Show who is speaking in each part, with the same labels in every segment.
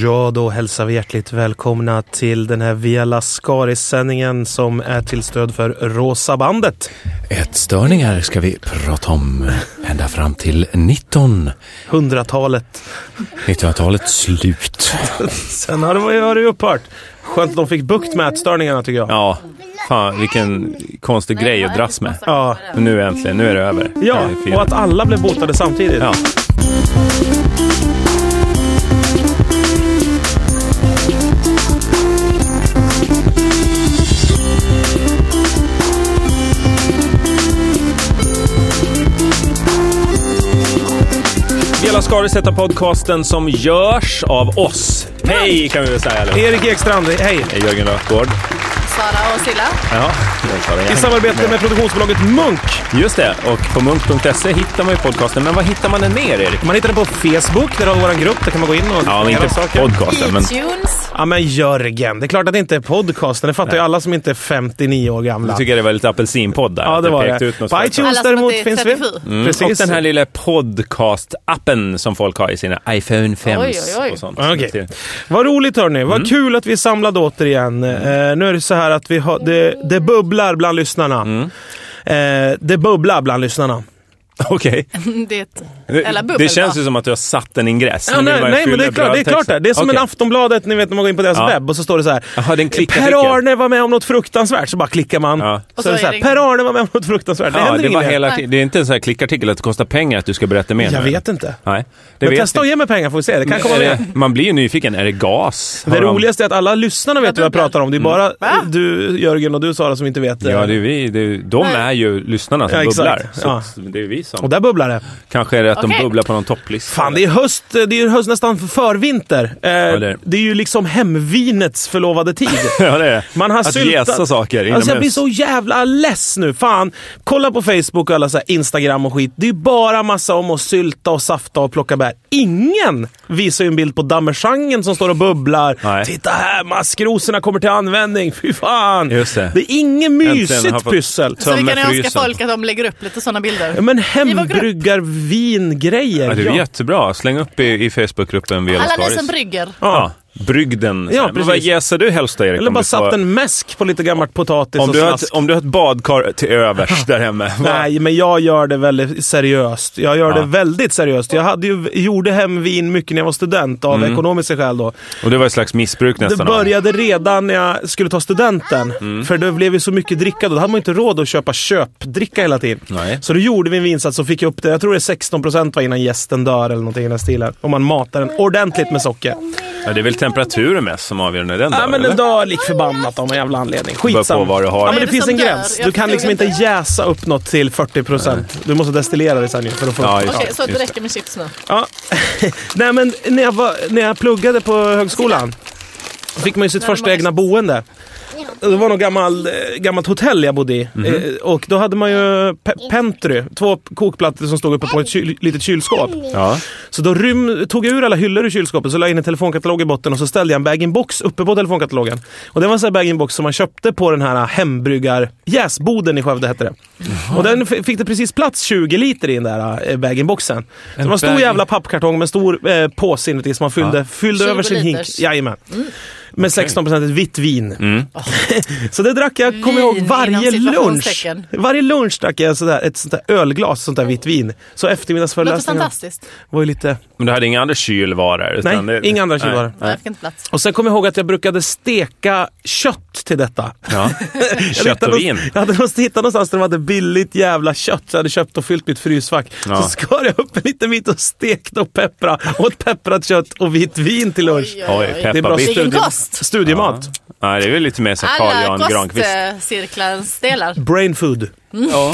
Speaker 1: Ja, då hälsar vi hjärtligt välkomna till den här Via Lascaris-sändningen som är till stöd för Rosa bandet.
Speaker 2: Ett störningar ska vi prata om ända fram till 19,
Speaker 1: Hundratalet.
Speaker 2: 1900-talets slut.
Speaker 1: Sen har det, har det ju upphört. Skönt att de fick bukt med ätstörningarna tycker jag.
Speaker 3: Ja, fan vilken konstig grej att dras med.
Speaker 1: Ja,
Speaker 3: Men nu äntligen, nu är det över.
Speaker 1: ja
Speaker 3: Det är fint.
Speaker 1: och att alla blev botade samtidigt.
Speaker 3: Ja. Vela Skaris heter podcasten som görs av oss. Hej kan vi väl säga eller?
Speaker 1: Erik Ekstrand, hej!
Speaker 3: Hej Jörgen Löfgård.
Speaker 4: Sara och Silla.
Speaker 3: Ja, det sa det.
Speaker 1: I samarbete med produktionsbolaget Munk.
Speaker 3: Just det, och på munk.se hittar man ju podcasten. Men var hittar man den mer Erik?
Speaker 1: Man hittar den på Facebook, där har vi vår grupp. Där kan man gå in och
Speaker 3: Ja, men
Speaker 1: göra
Speaker 3: inte podcasten. Men
Speaker 4: iTunes.
Speaker 1: Ja men Jörgen, det är klart att det inte är podcasten. Det fattar ju alla som inte är 59 år gamla.
Speaker 3: jag tycker det var lite apelsinpodd där.
Speaker 1: Ja
Speaker 3: att
Speaker 1: det
Speaker 3: jag
Speaker 1: var
Speaker 3: pekade
Speaker 1: det.
Speaker 3: Ut något
Speaker 1: På
Speaker 3: företag.
Speaker 1: iTunes
Speaker 4: Alla som
Speaker 1: däremot
Speaker 4: inte är
Speaker 1: finns vi.
Speaker 4: 37.
Speaker 3: Mm,
Speaker 1: Precis.
Speaker 3: Och den här lilla podcast-appen som folk har i sina iPhone 5
Speaker 4: Oj, oj, oj.
Speaker 3: och sånt.
Speaker 1: Ah, Okej. Vad roligt hörni. Vad kul att vi är samlade återigen. Eh, nu är det så här att vi har, det, det bubblar bland lyssnarna. Eh, det bubblar bland lyssnarna.
Speaker 3: Okej.
Speaker 4: Det är ett Eller
Speaker 3: Det,
Speaker 4: bubbel,
Speaker 3: det känns
Speaker 4: va?
Speaker 3: ju som att du har satt en ingress.
Speaker 1: Ja,
Speaker 3: Nu vill
Speaker 1: nej,
Speaker 3: man ju
Speaker 1: nej men det är
Speaker 3: fylla
Speaker 1: klart det. Är klart det.
Speaker 3: brödtexten.
Speaker 1: det är som en
Speaker 3: Okej.
Speaker 1: Aftonbladet, ni vet när man går in på deras
Speaker 3: Ja.
Speaker 1: webb och så står det så här.
Speaker 3: Jaha, den klickar klickar.
Speaker 1: Per-Arne var med om något fruktansvärt, så bara klickar man.
Speaker 3: Ja.
Speaker 1: Så, är det så här,
Speaker 4: det-
Speaker 1: Per-Arne var med om något fruktansvärt. Det
Speaker 3: Ja,
Speaker 1: händer
Speaker 3: det, var
Speaker 1: inget.
Speaker 3: hela, det är inte en sån här klickartikel att det kostar pengar att du ska berätta mer.
Speaker 1: Jag
Speaker 3: nu.
Speaker 1: vet inte.
Speaker 3: Nej, det
Speaker 1: Men
Speaker 3: vet
Speaker 1: testa
Speaker 3: jag.
Speaker 1: och ge mig pengar får vi se. Det kan komma
Speaker 3: Är
Speaker 1: med.
Speaker 3: det- Man blir ju nyfiken. Är det gas?
Speaker 1: Det
Speaker 3: Har de- Mm.
Speaker 1: roligaste är att alla lyssnarna vet
Speaker 4: Ja,
Speaker 1: vad jag
Speaker 4: bubbel.
Speaker 1: pratar om. Det är bara du Jörgen och du Sara som inte vet. eh,
Speaker 3: Ja, det är vi. Det är, de är ju lyssnarna som
Speaker 1: Ja, exakt.
Speaker 3: bubblar. Så
Speaker 1: Ja.
Speaker 3: att det är vi
Speaker 1: Och
Speaker 3: som...
Speaker 1: där bubblar det.
Speaker 3: Kanske är det att
Speaker 4: Okej.
Speaker 3: de bubblar på någon topplista.
Speaker 1: Fan, det är höst, det är höst nästan förvinter. Eh,
Speaker 3: det är det.
Speaker 1: det är ju liksom hemvinets förlovade tid.
Speaker 3: ja, det är det.
Speaker 1: Man har
Speaker 3: att
Speaker 1: syltat-
Speaker 3: jäsa saker inomhus.
Speaker 1: Alltså jag blir så jävla less nu. Fan, kolla på Facebook och alla så här Instagram och skit. Det är ju bara massa om att sylta och safta och plocka bär. Ingen visar ju en bild på damejeangen som står och bubblar.
Speaker 3: Nej.
Speaker 1: Titta här, maskrosorna kommer till användning. Fy fan.
Speaker 3: Just det.
Speaker 1: är inget
Speaker 3: har jag
Speaker 1: mysigt
Speaker 3: fått-
Speaker 1: pyssel.
Speaker 4: så vi kan önska
Speaker 3: frysen.
Speaker 4: folk att de lägger upp lite sådana bilder.
Speaker 1: Men
Speaker 4: var grupp.
Speaker 1: hembryggar vingrejer.
Speaker 3: Ja, det är jättebra. Släng upp i, i Facebookgruppen Vela
Speaker 4: Alla ni
Speaker 3: Skaris.
Speaker 4: som brygger.
Speaker 3: Ja, brygden.
Speaker 1: Ja,
Speaker 3: Men vad
Speaker 1: precis.
Speaker 3: jäser du helst då, Erik?
Speaker 1: Eller
Speaker 3: om
Speaker 1: bara
Speaker 3: du får-
Speaker 1: satt en mäsk på lite gammalt potatis
Speaker 3: om
Speaker 1: och
Speaker 3: du, har
Speaker 1: snask.
Speaker 3: ett, om du har ett badkar till övers där hemma. vad-
Speaker 1: Nej, men jag gör det väldigt seriöst. Jag gör det
Speaker 3: Ja.
Speaker 1: väldigt seriöst. Jag hade ju, gjorde hemvin mycket när jag var student av ekonomiska skäl då.
Speaker 3: Och det var ett slags missbruk nästan.
Speaker 1: Det
Speaker 3: av-
Speaker 1: började redan när jag skulle ta studenten. För det blev ju så mycket dricka då. Då hade man ju inte råd att köpa köpdricka hela tiden.
Speaker 3: Nej.
Speaker 1: Så då gjorde vi en vinsats och fick upp det. Jag tror det är 16% var innan gästen dör eller någonting i den här stilen. Om man matar den ordentligt med socker.
Speaker 3: Ja, det är väl temperaturen mest som avgör när den
Speaker 1: Ja,
Speaker 3: dör,
Speaker 1: men den
Speaker 3: eller?
Speaker 1: dör lik förbannat av någon jävla anledning.
Speaker 3: Beror
Speaker 1: Skitsamma.
Speaker 3: på vad du har.
Speaker 1: Ja,
Speaker 3: Vad
Speaker 1: men det
Speaker 4: är det
Speaker 1: finns
Speaker 4: som
Speaker 1: en
Speaker 4: dör?
Speaker 1: gräns.
Speaker 4: Jag
Speaker 1: Du kan
Speaker 4: förstod
Speaker 1: liksom inte
Speaker 4: inte.
Speaker 1: jäsa upp något till 40%. Du måste destillera det sen ju för att få
Speaker 3: Ja, just
Speaker 4: Okej, så det
Speaker 3: just
Speaker 4: räcker med chips nu.
Speaker 1: Ja. Nej, men när jag, var, när jag pluggade på högskolan fick man ju sitt
Speaker 4: När det
Speaker 1: första
Speaker 4: var-
Speaker 1: egna boende. Det var något gammal, eh, gammalt hotell jag bodde i. Eh, Och då hade man ju pe- pentry, två kokplattor som stod uppe på ett kyl, litet kylskåp.
Speaker 3: Ja.
Speaker 1: Så då rym, tog jag ur alla hyllor ur kylskåpet, så la jag in en telefonkatalog i botten och så ställde jag en bag-in-box uppe på telefonkatalogen. Och det var en sån här bag-in-box som man köpte på den här äh, hembryggar... Jäsboden i Skövde hette det. Och den f- fick det precis plats 20 liter i den där eh, bag-in-boxen. Så det var en stor
Speaker 3: bag-in-
Speaker 1: jävla pappkartong med en stor eh, påse inuti som man fyllde, fyllde
Speaker 4: 20
Speaker 1: över sin hink.
Speaker 4: liters. Mm.
Speaker 1: Jajamän. Med 16 procent vitt vin. så det drack jag, kommer jag ihåg,
Speaker 4: Vin
Speaker 1: varje
Speaker 4: inom
Speaker 1: lunch.
Speaker 4: citationstecken.
Speaker 1: Varje lunch drack jag sådär, ett sånt där ölglas sånt där vitt vin. Så
Speaker 4: Det låter
Speaker 1: eftermiddagsföreläsningarna
Speaker 4: fantastiskt.
Speaker 1: var ju lite...
Speaker 3: Men du hade inga andra kylvaror?
Speaker 1: Nej,
Speaker 3: utan det-
Speaker 1: inga andra
Speaker 3: Nej.
Speaker 1: kylvaror.
Speaker 4: Nej, jag fick inte plats.
Speaker 1: Och sen kom jag ihåg att jag brukade steka kött till detta.
Speaker 3: Ja.
Speaker 1: Jag
Speaker 3: Kött
Speaker 1: hittade
Speaker 3: och
Speaker 1: någon-
Speaker 3: vin.
Speaker 1: Jag hade någonstans- hittat någonstans där de hade billigt jävla kött. Så jag hade köpt och fyllt mitt frysfack.
Speaker 3: Ja.
Speaker 1: Så skar jag upp en liten bit och stekte och peppra. Åt pepprat kött och vitt vin till lunch.
Speaker 4: Oj,
Speaker 3: Oj,
Speaker 4: oj, oj.
Speaker 3: peppar
Speaker 1: Det är bra
Speaker 3: bitter.
Speaker 4: Vilken
Speaker 1: studie,
Speaker 4: kost!
Speaker 1: studiemat.
Speaker 3: Nej, det är väl lite mer så här Carl
Speaker 4: Alla
Speaker 3: Jan Granqvist. Mm.
Speaker 4: kostcirklarens delar.
Speaker 1: Brain food.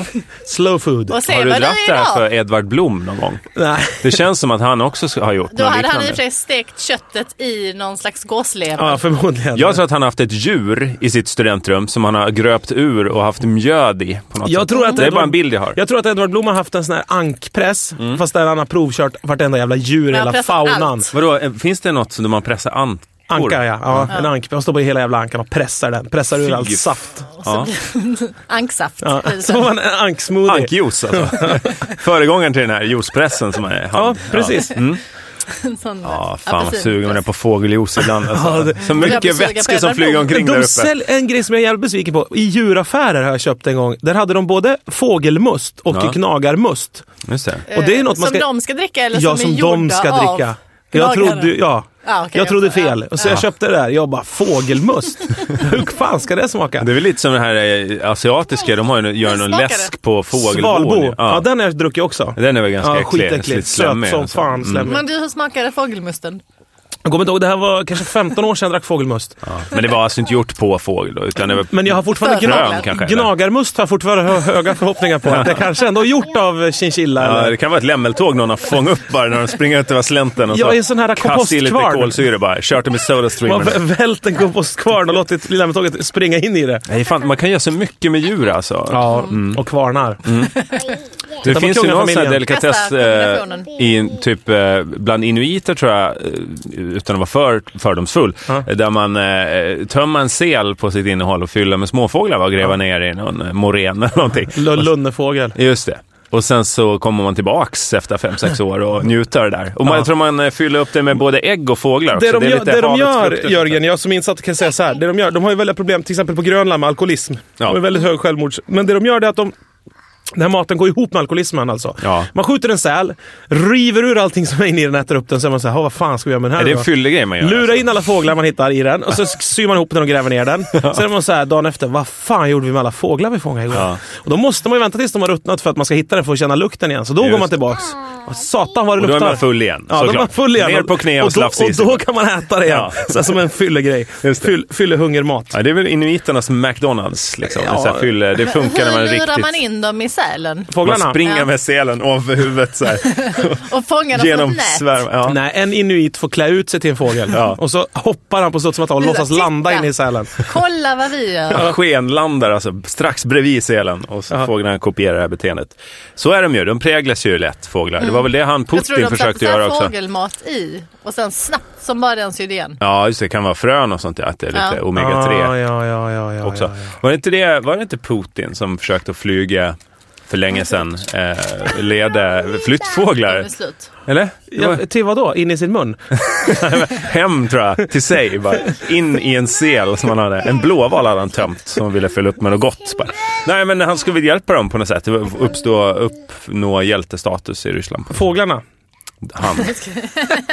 Speaker 1: Slow food.
Speaker 4: Och säg
Speaker 3: Har du
Speaker 4: Mm. vad
Speaker 3: dragit
Speaker 4: är
Speaker 3: det här
Speaker 4: idag.
Speaker 3: för Edvard Blom någon gång?
Speaker 1: Nej.
Speaker 3: Det känns som att han också ska- har gjort
Speaker 4: Då
Speaker 3: något
Speaker 4: hade han i och för
Speaker 3: liknande.
Speaker 4: sig stekt köttet i någon slags gåslever.
Speaker 1: Ja, förmodligen.
Speaker 3: Jag tror att han har haft ett djur i sitt studentrum som han har gröpt ur och haft mjöd i. På något
Speaker 1: Jag
Speaker 3: sätt.
Speaker 1: tror att
Speaker 3: det är
Speaker 1: Edvard-
Speaker 3: bara en bild jag har.
Speaker 1: Jag tror att Edvard Blom har haft en sån här ankpress,
Speaker 3: Mm.
Speaker 1: fast där han har provkört vartenda jävla djur,
Speaker 4: har
Speaker 1: hela
Speaker 4: pressat
Speaker 1: faunan.
Speaker 4: allt.
Speaker 3: Vadå, eh, finns det något som man pressar ankor?
Speaker 1: Anka ja. ja, en anka. Jag stoppar i hela jävla ankan och pressar den. Pressar ur
Speaker 3: Fy
Speaker 1: allt saft.
Speaker 3: Ja.
Speaker 4: Anksaft.
Speaker 1: Ja.
Speaker 4: blir det
Speaker 1: Så
Speaker 4: sen.
Speaker 1: får man en anksmoothie.
Speaker 3: Ankjuice alltså. Föregångaren till den här juicepressen som är han.
Speaker 1: Ja, precis.
Speaker 3: Ja. Mm.
Speaker 4: En sån
Speaker 3: Ja, fan vad sugen man är
Speaker 4: apelsinjuice.
Speaker 3: på fågeljuice ibland. Alltså. Så
Speaker 4: Jag
Speaker 3: mycket
Speaker 4: blir sugen på
Speaker 3: vätska
Speaker 4: Edvard
Speaker 3: som flyger
Speaker 4: Blom.
Speaker 3: omkring där
Speaker 1: De
Speaker 3: uppe.
Speaker 1: sälj, en grej som jag är jävligt besviken på. I djuraffärer har jag köpt en gång. Där hade de både fågelmust och
Speaker 3: Ja.
Speaker 1: knagarmust.
Speaker 3: Just det.
Speaker 1: Och det är något
Speaker 4: Eh, som
Speaker 1: man ska...
Speaker 4: de ska dricka eller
Speaker 1: ja,
Speaker 4: som,
Speaker 1: som
Speaker 4: är gjorda
Speaker 1: de ska
Speaker 4: av?
Speaker 1: dricka. Jag
Speaker 4: gnagare.
Speaker 1: trodde, ja,
Speaker 4: Ja, okej,
Speaker 1: jag trodde
Speaker 4: fattar.
Speaker 1: fel. Så
Speaker 4: Ja.
Speaker 1: jag köpte det där. Jag bara, fågelmust? Hur fan ska det smaka?
Speaker 3: Det är väl lite som det här eh, asiatiska, de har ju, gör någon
Speaker 4: Smakar det?
Speaker 3: läsk på
Speaker 1: Svalbo.
Speaker 3: fågelbån.
Speaker 1: Ja. den har jag druckit också.
Speaker 3: Den är väl ganska
Speaker 1: Ja,
Speaker 3: äcklig.
Speaker 1: skitäcklig.
Speaker 3: Lite
Speaker 1: Söt
Speaker 3: slemmig alltså.
Speaker 1: som
Speaker 3: och så.
Speaker 1: fan. slemmig.
Speaker 4: Men du, hur smakade fågelmusten?
Speaker 1: Jag kommer inte ihåg, det här var kanske 15 år sedan jag drack fågelmust.
Speaker 3: Ja. Men det var alltså inte gjort på fågel då, utan det var
Speaker 1: Men jag har fortfarande
Speaker 4: Frön
Speaker 1: gnag-
Speaker 3: kanske, eller?
Speaker 1: gnagarmust har jag fortfarande hö- höga förhoppningar på. Att det kanske ändå är gjort av chinchilla.
Speaker 3: Ja,
Speaker 1: eller?
Speaker 3: det kan vara ett lämmeltåg någon har fångat upp bara när de springer ut över slänten och
Speaker 1: Ja, i en
Speaker 3: så
Speaker 1: sån här
Speaker 3: kastar i lite
Speaker 1: kompostkvarn.
Speaker 3: kolsyra bara. Kört det med
Speaker 1: Man har
Speaker 3: Sodastreamer.
Speaker 1: vä- vält en kompostkvarn och låtit lilla tåget springa in i det.
Speaker 3: Nej, fan, man kan göra så mycket med djur alltså.
Speaker 1: Ja, och kvarnar.
Speaker 3: Mm. Det
Speaker 1: på
Speaker 3: finns ju någon sån här
Speaker 1: kungafamiljen.
Speaker 3: delikatess
Speaker 4: Bästa
Speaker 3: eh,
Speaker 4: kombinationen.
Speaker 3: i, en- typ, eh, bland inuiter tror jag, eh, utan att vara för fördomsfull,
Speaker 1: Ja.
Speaker 3: eh, där man eh, tömmer en sel på sitt innehåll och fyller med småfåglar va, och gräver ner i någon eh, morän eller någonting.
Speaker 1: L- Lunnefågel.
Speaker 3: Just det. Och sen så kommer man tillbaks efter fem sex år och njuter av det där. Och man, jag tror man eh, fyller upp det med både ägg och fåglar
Speaker 1: Det
Speaker 3: också.
Speaker 1: de, gör,
Speaker 3: lite liksom.
Speaker 1: det de
Speaker 3: havets
Speaker 1: gör,
Speaker 3: frukter.
Speaker 1: Jörgen, jag som är insatt kan säga så här. Det de, gör, de har ju väldigt problem, till exempel på Grönland med alkoholism.
Speaker 3: Ja.
Speaker 1: De har väldigt hög självmords... Men det de gör det är att de... Den här maten går ihop med alkoholismen alltså.
Speaker 3: Ja.
Speaker 1: Man skjuter en säl, river ur allting som är inne i den, äter upp den, så är man så här, "Ha, vad fan ska vi göra med den
Speaker 3: Är
Speaker 1: här
Speaker 3: det
Speaker 1: nu
Speaker 3: en
Speaker 1: då?"
Speaker 3: fyllig grej man gör? alltså.
Speaker 1: Lura in alla fåglar man hittar i den och så syr man ihop den och gräver ner den. Sen är man så här dagen efter, vad fan gjorde vi med alla fåglar vi fångade igår?
Speaker 3: Ja.
Speaker 1: Och då måste man ju vänta tills de har ruttnat för att man ska hitta den för att känna lukten igen. Så då
Speaker 3: Just
Speaker 1: går man
Speaker 3: det.
Speaker 1: tillbaks. Och satan vad det
Speaker 3: Och då
Speaker 1: luktar.
Speaker 3: är man full igen.
Speaker 1: Ja, då är man
Speaker 3: såklart.
Speaker 1: full igen.
Speaker 3: Ner på knä och,
Speaker 1: och, då,
Speaker 3: slafs i
Speaker 1: och
Speaker 3: sig.
Speaker 1: då kan man äta det igen.
Speaker 3: Ja.
Speaker 1: Så här som en fyllegrej.
Speaker 3: Just det.
Speaker 1: Fyll, fyllehungermat.
Speaker 3: Ja, det är väl inuiternas McDonalds. Liksom.
Speaker 1: Ja.
Speaker 3: Det, är så här, fyller- det funkar när man
Speaker 4: Hur
Speaker 3: riktigt...
Speaker 4: lurar man in dem i sälen?
Speaker 1: Fåglarna?
Speaker 3: Man springer
Speaker 4: Ja.
Speaker 3: med selen ovanför huvudet så här,
Speaker 4: Och fångar dem
Speaker 3: genom
Speaker 4: på ett nät?
Speaker 3: svärm. Ja.
Speaker 1: Nej, en inuit får klä ut sig till en fågel
Speaker 3: Ja.
Speaker 1: och så hoppar han på studsmattan och
Speaker 4: Titta.
Speaker 1: låtsas landa in i sälen.
Speaker 4: Kolla vad vi gör.
Speaker 3: Ja, Skenlandar alltså strax bredvid selen och så
Speaker 1: Ja.
Speaker 3: fåglarna kopierar det här beteendet. Så är de ju, de präglas ju lätt fåglar. Det var väl det han
Speaker 4: Mm. Jag
Speaker 3: Putin
Speaker 4: tror de satte
Speaker 3: försökte
Speaker 4: så
Speaker 3: göra
Speaker 4: här
Speaker 3: också.
Speaker 4: fågelmat i och sen snabbt som bara den sydde igen.
Speaker 3: Ja, just det, kan vara frön och sånt där, att det är lite
Speaker 4: Ja.
Speaker 3: omega 3
Speaker 1: Ah, ja, ja, ja, ja,
Speaker 3: också.
Speaker 1: Ja, ja.
Speaker 3: Var, det inte det, var det inte Putin som försökte att flyga för länge sedan, eh, leda
Speaker 4: Den
Speaker 3: flyttfåglar?
Speaker 4: är slut.
Speaker 1: Liksom
Speaker 3: Eller? Det var
Speaker 1: Ja, till vad då? In i sin mun?
Speaker 3: hem tror jag, till sig. Bara. In i en sel som han hade. En blåval hade han tömt som han ville fylla upp med något gott. Bara. Nej, men han skulle väl hjälpa dem på något sätt. Uppstå, uppnå hjältestatus i Ryssland.
Speaker 1: Fåglarna?
Speaker 3: Han.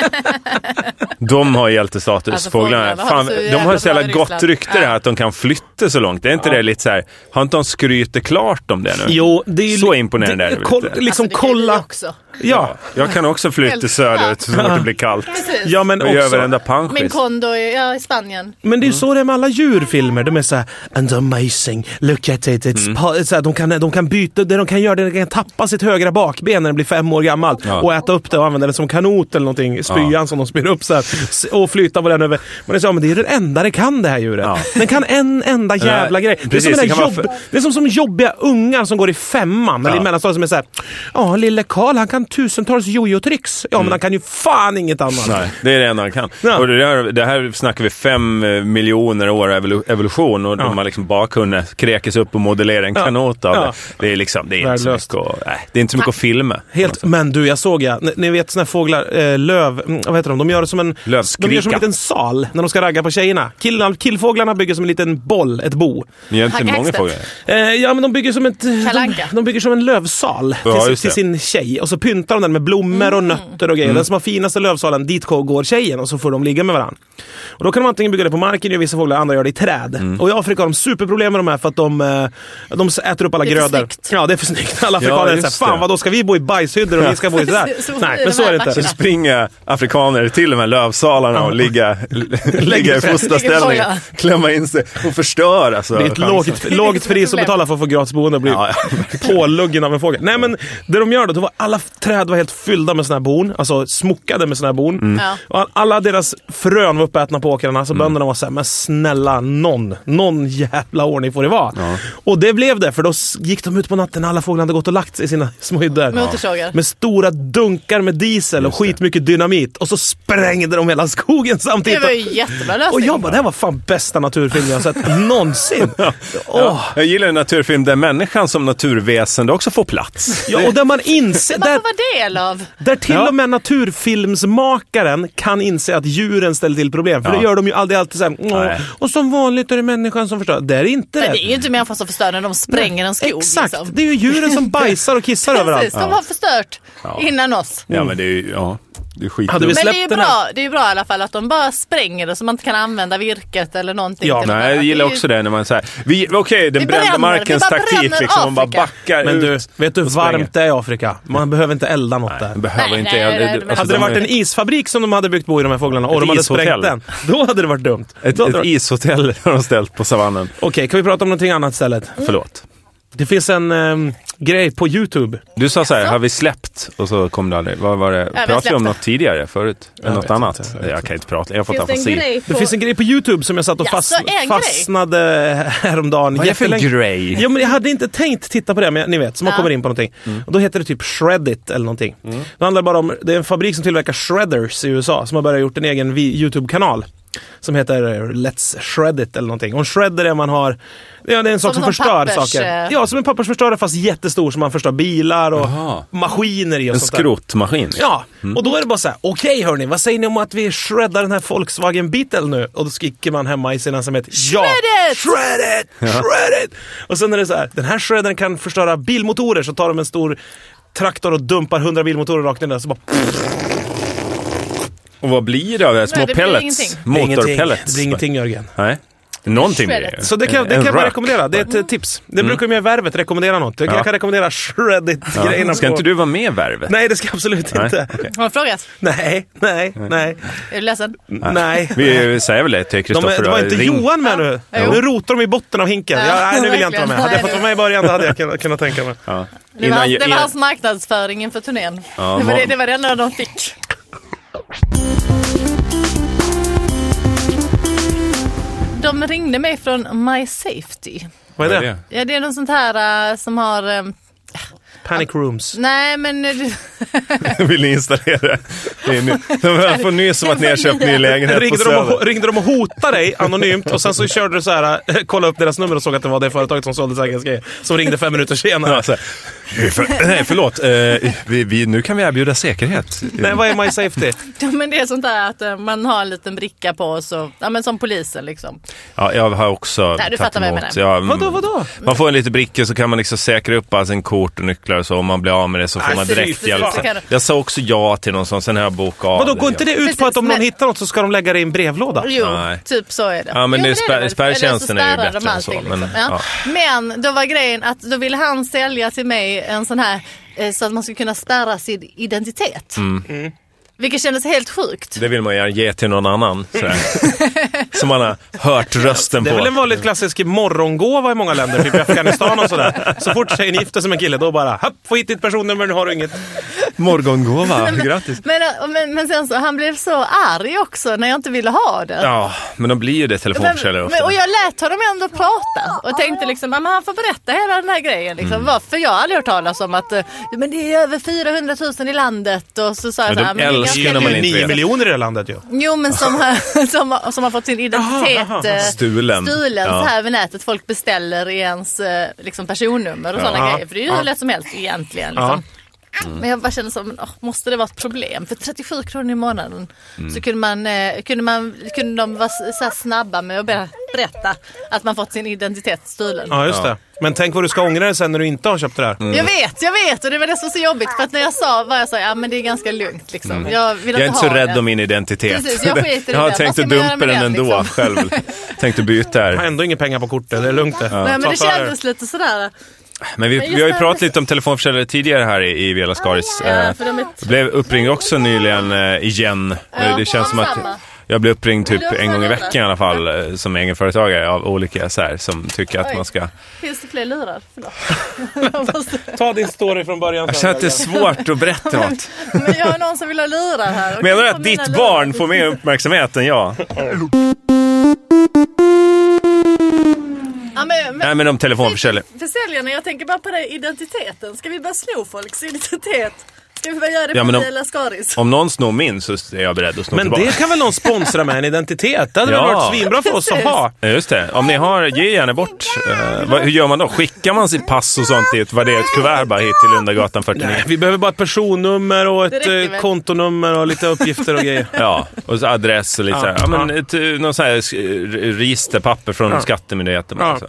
Speaker 3: De har hjältestatus,
Speaker 4: Alltså,
Speaker 3: fåglarna.
Speaker 4: fåglarna har
Speaker 3: Fan,
Speaker 4: så jävla
Speaker 3: de har så
Speaker 4: bra
Speaker 3: jävla
Speaker 4: i
Speaker 3: gott
Speaker 4: Ryssland.
Speaker 3: rykte det här att de kan flytta så långt. Det är inte det lite så här, har inte de skrytit klart om det nu?
Speaker 1: Jo, det är ju...
Speaker 3: Så imponerande är det väl
Speaker 1: koll,
Speaker 3: inte?
Speaker 1: Liksom
Speaker 4: alltså, det kan vi
Speaker 1: kolla...
Speaker 4: också.
Speaker 1: Ja.
Speaker 3: Jag kan också flytta
Speaker 4: Helt
Speaker 3: söderut så fort det blir kallt.
Speaker 4: Precis.
Speaker 1: ja, men
Speaker 3: Och gör
Speaker 1: också...
Speaker 3: varenda panschis.
Speaker 4: Min kondo i, ja, i Spanien.
Speaker 1: Men
Speaker 3: Mm.
Speaker 1: det är ju så det är med alla djurfilmer. De är såhär “and amazing, look at it”. It's
Speaker 3: Mm.
Speaker 1: po- så här, de, kan, de kan byta, det de kan göra det är att de kan tappa sitt högra bakben när det blir fem år gammalt
Speaker 3: Ja.
Speaker 1: och äta upp det och använda det som kanot eller någonting. Spyan
Speaker 3: Ja.
Speaker 1: som de spyr upp så här, s- och flyta på den över. Men det är, så, ja, men det är ju den enda det kan det här djuret.
Speaker 3: Ja.
Speaker 1: Den kan en enda jävla grej. Det är,
Speaker 3: precis,
Speaker 1: som
Speaker 3: det
Speaker 1: det,
Speaker 3: kan
Speaker 1: jobb,
Speaker 3: vara för-
Speaker 1: det är som, som jobbiga ungar som går i femman eller
Speaker 3: Ja.
Speaker 1: i mellanstadiet som är såhär “ja, lille Karl han kan tusentals jojo-tricks”. Ja, men han kan ju fan inget annat.
Speaker 3: Mm. Nej, det är det enda han kan.
Speaker 1: Ja.
Speaker 3: Och det, här, det här snackar vi fem eh, miljoner år evolu- evolution och de har liksom bara kunnat kräkas upp och modellera en
Speaker 1: Ja.
Speaker 3: kanot av
Speaker 1: Ja.
Speaker 3: det. Det är liksom, det är inte så
Speaker 1: Värdelöst.
Speaker 3: mycket att, nej, det är inte så mycket att filma.
Speaker 1: Helt, men du, jag såg ja. Ni, ni vet såna här fåglar, eh, löv, mm, vad heter de? De gör som en,
Speaker 3: Lövskrika.
Speaker 1: de gör som en liten sal när de ska ragga på tjejerna. Kill, killfåglarna bygger som en liten boll, ett bo.
Speaker 3: Ni har inte
Speaker 4: Hacka
Speaker 3: många
Speaker 4: Hextech.
Speaker 3: frågor.
Speaker 1: Eh, ja, men de bygger som, ett, eh, de,
Speaker 4: Kalanka.
Speaker 1: de bygger som en lövsal
Speaker 3: Ja,
Speaker 1: till,
Speaker 3: just
Speaker 1: till
Speaker 3: det. Mm.
Speaker 1: sin tjej. Och så pyntar de den med blommor
Speaker 4: Mm.
Speaker 1: och nötter och grejer. Den som har finaste lövsalen, dit går tjejen och så får de ligga med varandra. Och då kan de antingen bygga det på marken, gör vissa fåglar, andra gör det i träd.
Speaker 3: Mm.
Speaker 1: Och i Afrika har de superproblem med de här för att de, eh, de äter upp alla
Speaker 4: Det är för
Speaker 1: grödor.
Speaker 4: snyggt.
Speaker 1: Ja, det är för snyggt. Alla afrikaner är
Speaker 3: just
Speaker 1: såhär, fan
Speaker 3: det.
Speaker 1: vad då ska vi bo i bajshyddor och ni ska bo i sådär?
Speaker 4: Så- så-
Speaker 1: Nej,
Speaker 4: de
Speaker 1: men så
Speaker 4: här
Speaker 1: är det inte.
Speaker 3: Så
Speaker 4: Ja.
Speaker 3: springer afrikaner till de här lövsalarna och ligga, ligga i
Speaker 1: sig.
Speaker 3: fosterställning,
Speaker 4: Ligger på,
Speaker 3: klämma in sig och förstöra. Alltså,
Speaker 1: Det är ett
Speaker 3: chansen.
Speaker 1: lågt, lågt pris att betala för att få gratis boende och bli
Speaker 3: Ja,
Speaker 1: påluggen av en fågel. Nej men det de gör då, då var alla f-
Speaker 4: Mm.
Speaker 1: träd var helt fyllda med såna här bon. Alltså smokade med såna här bon.
Speaker 4: Ja.
Speaker 1: Och all- alla deras frön var uppätna på åkrarna.
Speaker 3: Mm.
Speaker 1: Så bönderna var så här, men snälla någon, någon jävla ordning får det vara. Och det blev det, för då s- gick de ut på natten när alla fåglarna hade gått och lagt sig i sina små hyddor.
Speaker 4: Motorsågar.
Speaker 1: Med stora dunkar med diesel och skitmycket dynamit. Och så sprängde de hela skogen
Speaker 4: Det
Speaker 1: samtidigt.
Speaker 4: var ju jättebra lösning.
Speaker 1: Och jag bara, det här var fan bästa naturfilm jag har sett någonsin. Åh.
Speaker 3: Jag gillar en naturfilm där människan som naturväsende också får plats.
Speaker 1: Ja, och där man inser...
Speaker 4: Varför
Speaker 1: Där,
Speaker 4: var det löv?
Speaker 1: där till
Speaker 3: Ja.
Speaker 1: och med naturfilmsmakaren kan inse att djuren ställer till problem. För
Speaker 3: Ja.
Speaker 1: det gör de ju aldrig alltid såhär. "Åh,
Speaker 3: Nej.
Speaker 1: Och som vanligt är det människan som förstör. Det är inte
Speaker 4: Nej,
Speaker 1: det.
Speaker 4: det är ju inte människan som förstör när de spränger en skog.
Speaker 1: Exakt,
Speaker 4: Liksom.
Speaker 1: det är ju djuren som bajsar och kissar
Speaker 4: Precis,
Speaker 1: överallt.
Speaker 4: de har förstört innan oss.
Speaker 3: Ja, men det är ju... Ja,
Speaker 1: Mm. Hade
Speaker 3: det är
Speaker 1: vi
Speaker 3: skitdumt.
Speaker 4: Men det är ju
Speaker 1: släpp den här.
Speaker 4: bra, det är ju bra i alla fall att de bara spränger det så man inte kan använda virket eller någonting.
Speaker 1: Ja,
Speaker 4: till något
Speaker 3: Nej, jag
Speaker 4: annat.
Speaker 3: gillar
Speaker 4: Det är ju-
Speaker 3: också det när man säger vi, okej, den
Speaker 4: Vi
Speaker 3: brända
Speaker 4: bränner, vi
Speaker 3: markens
Speaker 4: bara
Speaker 3: taktik
Speaker 4: bränner
Speaker 3: liksom, man bara
Speaker 4: Afrika.
Speaker 3: backar
Speaker 1: Men du,
Speaker 3: ut.
Speaker 1: vet du hur
Speaker 3: spränger.
Speaker 1: varmt det är i Afrika? Man behöver inte elda något där.
Speaker 3: Den behöver
Speaker 4: Nej,
Speaker 3: inte... alltså,
Speaker 4: nej, nej, nej, men-
Speaker 1: Hade det
Speaker 3: de
Speaker 1: varit
Speaker 3: är-
Speaker 1: en isfabrik som de hade byggt bo i de här fåglarna och
Speaker 3: Ett
Speaker 1: de hade
Speaker 3: ishotell.
Speaker 1: sprängt den, då hade det varit dumt.
Speaker 3: Ett,
Speaker 1: Då hade det
Speaker 3: ett
Speaker 1: varit-
Speaker 3: ishotell har de ställt på savannen.
Speaker 1: Okej, kan vi prata om någonting annat istället?
Speaker 4: Mm.
Speaker 3: Förlåt.
Speaker 1: Det finns en ehm, grej på YouTube.
Speaker 3: Du sa så här, har vi släppt? Och så kom det aldrig. Vad var det?
Speaker 4: vi
Speaker 3: Pratade
Speaker 4: har
Speaker 3: vi om
Speaker 4: släppt
Speaker 3: något tidigare förut? Eller något
Speaker 1: vet
Speaker 3: annat?
Speaker 1: inte, jag
Speaker 3: jag,
Speaker 1: vet
Speaker 3: kan inte prata. Jag får ta
Speaker 4: Finns det en
Speaker 3: fantasi.
Speaker 4: grej
Speaker 1: Det
Speaker 4: på...
Speaker 1: finns en grej på YouTube som jag satt och fast,
Speaker 4: Jaså, en grej?
Speaker 1: fastnade häromdagen.
Speaker 3: Vad är det för
Speaker 1: jättelänge.
Speaker 3: grej?
Speaker 1: Jo, men jag hade inte tänkt titta på det, men jag- ni vet, så man
Speaker 4: Ja.
Speaker 1: kommer in på någonting.
Speaker 3: Mm.
Speaker 1: Och då heter det typ Shreddit eller någonting. Det handlar bara om, det är en fabrik som tillverkar shredders i USA som har börjat gjort en egen vi- YouTube-kanal. Som heter eh, Let's Shred It eller någonting. Och en shredder är att man har, ja, det är en sak som,
Speaker 4: Som en sån
Speaker 1: förstör
Speaker 4: pappers,
Speaker 1: saker.
Speaker 4: eh,
Speaker 1: Ja, som en pappersförstörare fast jättestor som man förstör bilar och
Speaker 3: Jaha.
Speaker 1: maskiner i och
Speaker 3: En
Speaker 1: sånt där.
Speaker 3: skrotmaskin.
Speaker 1: Ja,
Speaker 3: Mm.
Speaker 1: och då är det bara så här, okej hörni, vad säger ni om att vi shreddar den här Volkswagen Beetle nu? Och då skriker man hemma i sin ensamhet, ja!
Speaker 4: Shred it!
Speaker 1: Shred it! Shred it! Och sen är det så här, den här shreddern kan förstöra bilmotorer, så tar de en stor traktor och dumpar 100 bilmotorer rakt ner där, så bara
Speaker 3: Och vad blir det av det? Små
Speaker 4: Nej, det blir
Speaker 3: pellets?
Speaker 4: ingenting.
Speaker 1: ingenting.
Speaker 3: Motorpellets?
Speaker 1: Det blir ingenting Jörgen.
Speaker 3: Nej. Någonting blir
Speaker 4: Shredded.
Speaker 3: det.
Speaker 1: Så det kan,
Speaker 3: En-
Speaker 1: det
Speaker 3: en
Speaker 1: kan jag bara
Speaker 3: rök.
Speaker 1: rekommendera, det är ett eh, tips. Det brukar ju med Värvet rekommendera något. Jag,
Speaker 3: Ja.
Speaker 1: jag kan rekommendera shreddit-grejerna.
Speaker 3: Ja. Ska
Speaker 1: på-
Speaker 3: inte du vara med i Värvet?
Speaker 1: Nej, det ska jag absolut
Speaker 3: Nej,
Speaker 1: inte.
Speaker 3: okej.
Speaker 4: Har du frågat?
Speaker 1: Nej, nej, nej,
Speaker 4: Är du ledsen?
Speaker 1: nej.
Speaker 3: Vi säger väl det till
Speaker 1: De,
Speaker 3: Kristoffer.
Speaker 1: det var inte
Speaker 3: Ring.
Speaker 1: Johan med nu.
Speaker 4: Jo.
Speaker 1: Nu rotar de i botten av hinken. Ja,
Speaker 4: Ja,
Speaker 1: nej, nu vill jag inte vara med. Hade jag fått
Speaker 4: verkligen.
Speaker 1: vara med i början då hade jag kunnat, kunnat tänka mig.
Speaker 3: Ja.
Speaker 4: Det var,
Speaker 3: Innan,
Speaker 4: hans, det var
Speaker 3: innan,
Speaker 4: hans marknadsföring inför turnén.
Speaker 3: Ja,
Speaker 4: det, var
Speaker 3: ma-
Speaker 4: det, det var det enda de fick. De ringde mig från My Safety.
Speaker 1: Vad är det?
Speaker 4: Ja, det är något sånt här eh, som har... eh,
Speaker 1: Panic rooms.
Speaker 4: nej, men... eh,
Speaker 3: Vill ni installera? Det är ny- De får nys om att ni har köpt ny lägenhet på
Speaker 1: Ringde de, och,
Speaker 3: Söder.
Speaker 1: ringde de och hotade dig anonymt och sen så körde du så här, eh, kolla upp deras nummer och såg att det var det företaget som sålde säkerhetsgrejer. Som ringde fem minuter senare.
Speaker 3: Ja, så här. För, nej, förlåt. Eh, vi, vi, nu kan vi erbjuda säkerhet.
Speaker 1: Nej, vad är My Safety?
Speaker 4: Ja, men det är sånt där att eh, man har en liten bricka på så, ja men som polisen liksom.
Speaker 3: Ja, jag har också
Speaker 4: Nej, du
Speaker 3: tagit
Speaker 4: fattar vad jag
Speaker 3: emot.
Speaker 4: menar.
Speaker 3: Ja, mm.
Speaker 1: Vadå, vadå?
Speaker 3: Man får en liten bricka så kan man liksom säkra upp all sin kort och nycklar och så. Om man blir av med det så får
Speaker 1: Nej,
Speaker 3: man
Speaker 1: fy
Speaker 3: direkt
Speaker 1: fan.
Speaker 3: hjälp. Jag sa också ja till någon sån, sen har jag bokat av
Speaker 1: Vadå,
Speaker 3: det.
Speaker 1: går inte det ut på
Speaker 4: Precis,
Speaker 1: att om någon
Speaker 4: men-
Speaker 1: hittar något så ska de lägga det i en brevlåda?
Speaker 4: Jo,
Speaker 3: Nej.
Speaker 4: typ så är det.
Speaker 3: Ja, men
Speaker 4: jo,
Speaker 3: det är
Speaker 4: det
Speaker 3: spärr-
Speaker 4: väl.
Speaker 3: spärrtjänsten är ju
Speaker 4: Eller så spärrar
Speaker 3: bättre
Speaker 4: de
Speaker 3: än
Speaker 4: allting,
Speaker 3: så, men-
Speaker 4: liksom. ja. men då var grejen att då ville han sälja till mig en sån här eh, så att man skulle kunna spärra sin identitet. Mm. Vilket kändes helt sjukt.
Speaker 3: Mm. Det vill man gärna ge till någon annan. Sådär. Som man har hört rösten
Speaker 1: Det är väl en
Speaker 3: på.
Speaker 1: vanligt klassisk morgongåva i många länder, typ i Afghanistan och sådär. Så fort tjejen gifter sig med en kille, då bara hopp, få hit ditt personnummer, nu har du inget.
Speaker 3: Morgongåva. Grattis.
Speaker 4: Men, eh, men, men sen så, han blev så arg också när jag inte ville ha det.
Speaker 3: Ja, men de blir ju det
Speaker 4: Men,
Speaker 3: telefonförsäljare
Speaker 4: men,
Speaker 3: ofta.
Speaker 4: och jag lät honom ändå prata och tänkte liksom, ja, men han får berätta hela den här grejen. Liksom.
Speaker 3: Mm.
Speaker 4: Varför jag har aldrig hört talas om att eh, men det är över 400 000 i landet. Och så sa
Speaker 3: Men
Speaker 4: jag så
Speaker 3: de
Speaker 4: här, men det är
Speaker 3: älskar
Speaker 4: ganska
Speaker 3: när man
Speaker 1: Det
Speaker 4: lugnt.
Speaker 1: är
Speaker 3: inte
Speaker 1: nio
Speaker 3: vet.
Speaker 1: miljoner i det här landet ju.
Speaker 4: Jo men som har, som, har- som har fått sin identitet
Speaker 1: Jaha,
Speaker 4: eh,
Speaker 3: Stulen.
Speaker 4: stulen
Speaker 3: Ja.
Speaker 4: så här över nätet. Folk beställer i ens eh, liksom, personnummer och sådana
Speaker 1: Ja.
Speaker 4: grejer. För det är ju hur lätt som helst egentligen. Liksom.
Speaker 3: Mm.
Speaker 4: Men jag bara kände som, åh, måste det vara ett problem? För 37 kronor i månaden
Speaker 3: Mm.
Speaker 4: så kunde, man, eh, kunde, man, kunde de vara s- så här snabba med att ber- berätta att man fått sin identitet stulen.
Speaker 1: Ja, just det. Men tänk vad du ska ångra dig sen när du inte har köpt det
Speaker 3: Mm.
Speaker 1: där.
Speaker 4: Jag vet, jag vet och det var det som var så jobbigt för att när jag sa vad jag sa, ja men det är ganska lugnt liksom. Jag, vill
Speaker 3: Mm. Jag är inte så
Speaker 4: ha det.
Speaker 3: rädd om min identitet.
Speaker 4: Precis, jag skiter i
Speaker 3: Jag har
Speaker 4: det. Vad
Speaker 3: tänkt
Speaker 4: ska
Speaker 3: att
Speaker 4: man göra
Speaker 3: dumpa
Speaker 4: med
Speaker 3: den
Speaker 4: den,
Speaker 3: ändå
Speaker 4: liksom?
Speaker 3: själv. Tänkte byta
Speaker 1: Jag har
Speaker 3: här.
Speaker 1: ändå inga pengar på kortet, det är lugnt det.
Speaker 4: Nej, men
Speaker 1: Ta
Speaker 4: det
Speaker 1: för er.
Speaker 4: kändes lite sådär.
Speaker 3: Men vi,
Speaker 4: Men just
Speaker 3: vi har ju
Speaker 4: det-
Speaker 3: pratat lite om telefonförsäljare tidigare här i, i Vela Skaris.
Speaker 4: Ja,
Speaker 3: Eh,
Speaker 4: för de är
Speaker 3: Jag blev uppringd också nyligen eh, igen. Eh,
Speaker 4: Ja,
Speaker 3: det känns som att
Speaker 4: samma.
Speaker 3: Jag blir uppringd typ
Speaker 4: Men du har
Speaker 3: en gång i
Speaker 4: fördelar.
Speaker 3: veckan i alla fall eh, som egenföretagare av olika så här, som tycker att
Speaker 4: Oj.
Speaker 3: man ska...
Speaker 4: Finns det fler lurar? Förlåt. Jag måste-
Speaker 1: Ta din story från början.
Speaker 3: Jag känner att det är svårt att berätta något.
Speaker 4: Men jag har någon som vill ha lurar här. Och
Speaker 3: Menar du
Speaker 4: kan få
Speaker 3: att
Speaker 4: mina
Speaker 3: ditt
Speaker 4: lurar?
Speaker 3: barn får mer uppmärksamhet än jag?
Speaker 4: Ja, men, men,
Speaker 3: Nej men om telefonförsäljning.
Speaker 4: försäljarna, jag tänker bara på det, identiteten. Ska vi bara sno folks identitet? Ska vi bara göra det
Speaker 3: Ja,
Speaker 4: på
Speaker 3: men om-
Speaker 4: Mia Lascaris?
Speaker 3: Om någon snor min så är jag beredd att sno
Speaker 1: Men
Speaker 3: tillbaka.
Speaker 1: det kan väl någon sponsra med en identitet? Det hade väl
Speaker 3: Ja.
Speaker 1: varit svinbra för oss att ha?
Speaker 3: Ja, Just det. Om ni har, ge gärna bort. Eh, vad, hur gör man då? Skickar man sitt pass och sånt i ett värderat kuvert bara hit till Lundagatan 49?
Speaker 1: Nej, vi behöver bara ett personnummer och ett
Speaker 4: räcker
Speaker 1: eh,
Speaker 4: väl.
Speaker 1: kontonummer och lite uppgifter och grejer.
Speaker 3: Ja, och så adress och lite
Speaker 1: Ja,
Speaker 3: så här. Ja, men
Speaker 1: ja.
Speaker 3: ett, eh, någon så här sk- re- registerpapper från Skattemyndigheten.
Speaker 1: Ja.
Speaker 3: och så.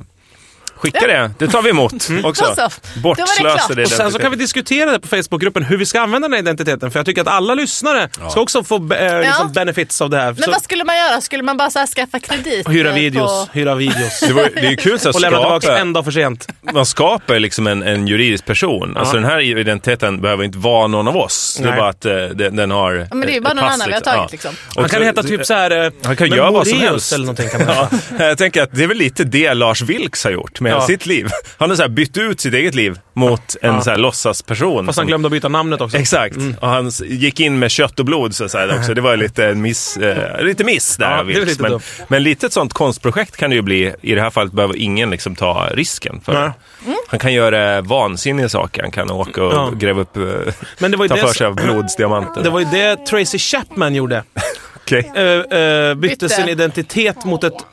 Speaker 3: Skicka det, det tar vi emot också.
Speaker 4: Mm. Då så. Då var det klart.
Speaker 3: Bortslösade
Speaker 1: Och sen så kan vi diskutera det på Facebookgruppen hur vi ska använda den här identiteten. För jag tycker att alla lyssnare ska också få eh, liksom benefits av det här.
Speaker 4: Men
Speaker 1: Så,
Speaker 4: vad skulle man göra? Skulle man bara så här skaffa kredit?
Speaker 1: hyra
Speaker 4: eh,
Speaker 1: videos, hyra videos.
Speaker 3: det, var, det är ju kul så att
Speaker 1: Och lämna tillbaka
Speaker 3: skapa,
Speaker 1: en dag för sent.
Speaker 3: man skapar liksom en, en juridisk person. Alltså den här identiteten behöver inte vara någon av oss. Det
Speaker 1: Nej.
Speaker 3: är bara att eh, den, den har ja,
Speaker 4: men det är ju bara någon annan vi har tagit, liksom.
Speaker 1: Han kan heta typ så här... eh,
Speaker 3: Han kan
Speaker 1: men
Speaker 3: göra vad som
Speaker 1: Moraeus
Speaker 3: helst.
Speaker 1: Eller någonting kan man.
Speaker 3: Ja, jag tänker att det är väl lite det Lars Vilks har gjort med
Speaker 1: Ja.
Speaker 3: sitt liv. Han har så här bytt ut sitt eget liv mot en så här låtsasperson.
Speaker 1: Fast
Speaker 3: som-
Speaker 1: han glömde Mm. att byta namnet också.
Speaker 3: Exakt. Och han s- gick in med kött och blod så att säga också. Det var lite en miss, eh, lite miss där
Speaker 1: Ja,
Speaker 3: av
Speaker 1: det är
Speaker 3: Vilks.
Speaker 1: lite
Speaker 3: men,
Speaker 1: dumt.
Speaker 3: men lite ett sånt konstprojekt kan det ju bli. I det här fallet behöver ingen liksom ta risken. För.
Speaker 1: Nej.
Speaker 3: Han kan göra vansinniga saker. Han kan åka och
Speaker 1: Ja.
Speaker 3: gräva upp, eh,
Speaker 1: Men det var ju
Speaker 3: ta
Speaker 1: det
Speaker 3: för
Speaker 1: som-
Speaker 3: sig av blodsdiamanter.
Speaker 1: Det var ju det Tracy Chapman gjorde.
Speaker 3: Okej.
Speaker 1: Eh, eh, bytte,
Speaker 4: Bytte.
Speaker 1: sin identitet mot ett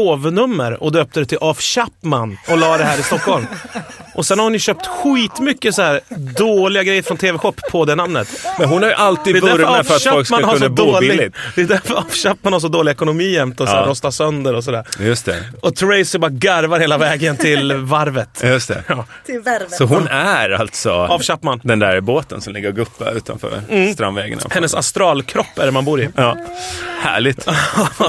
Speaker 1: skrovnummer och döpte det till Af Chapman och la det här i Stockholm. Och sen har hon ju köpt skitmycket så här dåliga grejer från TV-shop på det namnet.
Speaker 3: Men hon har ju
Speaker 1: Det är
Speaker 3: alltid
Speaker 1: därför
Speaker 3: vurmat
Speaker 1: Af
Speaker 3: för att folk
Speaker 1: Chapman
Speaker 3: ska
Speaker 1: har så
Speaker 3: kunna bo
Speaker 1: dålig...
Speaker 3: billigt.
Speaker 1: Det är därför Af Chapman har så dålig ekonomi jämt och så här,
Speaker 3: Ja.
Speaker 1: rostar sönder och sådär.
Speaker 3: Just det.
Speaker 1: Och Tracy bara garvar hela vägen till varvet.
Speaker 3: Just det.
Speaker 4: Till värvet.
Speaker 3: Så hon är alltså
Speaker 1: Af Chapman.
Speaker 3: den där båten som ligger och guppar utanför
Speaker 4: Mm.
Speaker 3: strandvägen.
Speaker 1: Hennes astralkropp är det man bor i.
Speaker 3: Ja, härligt.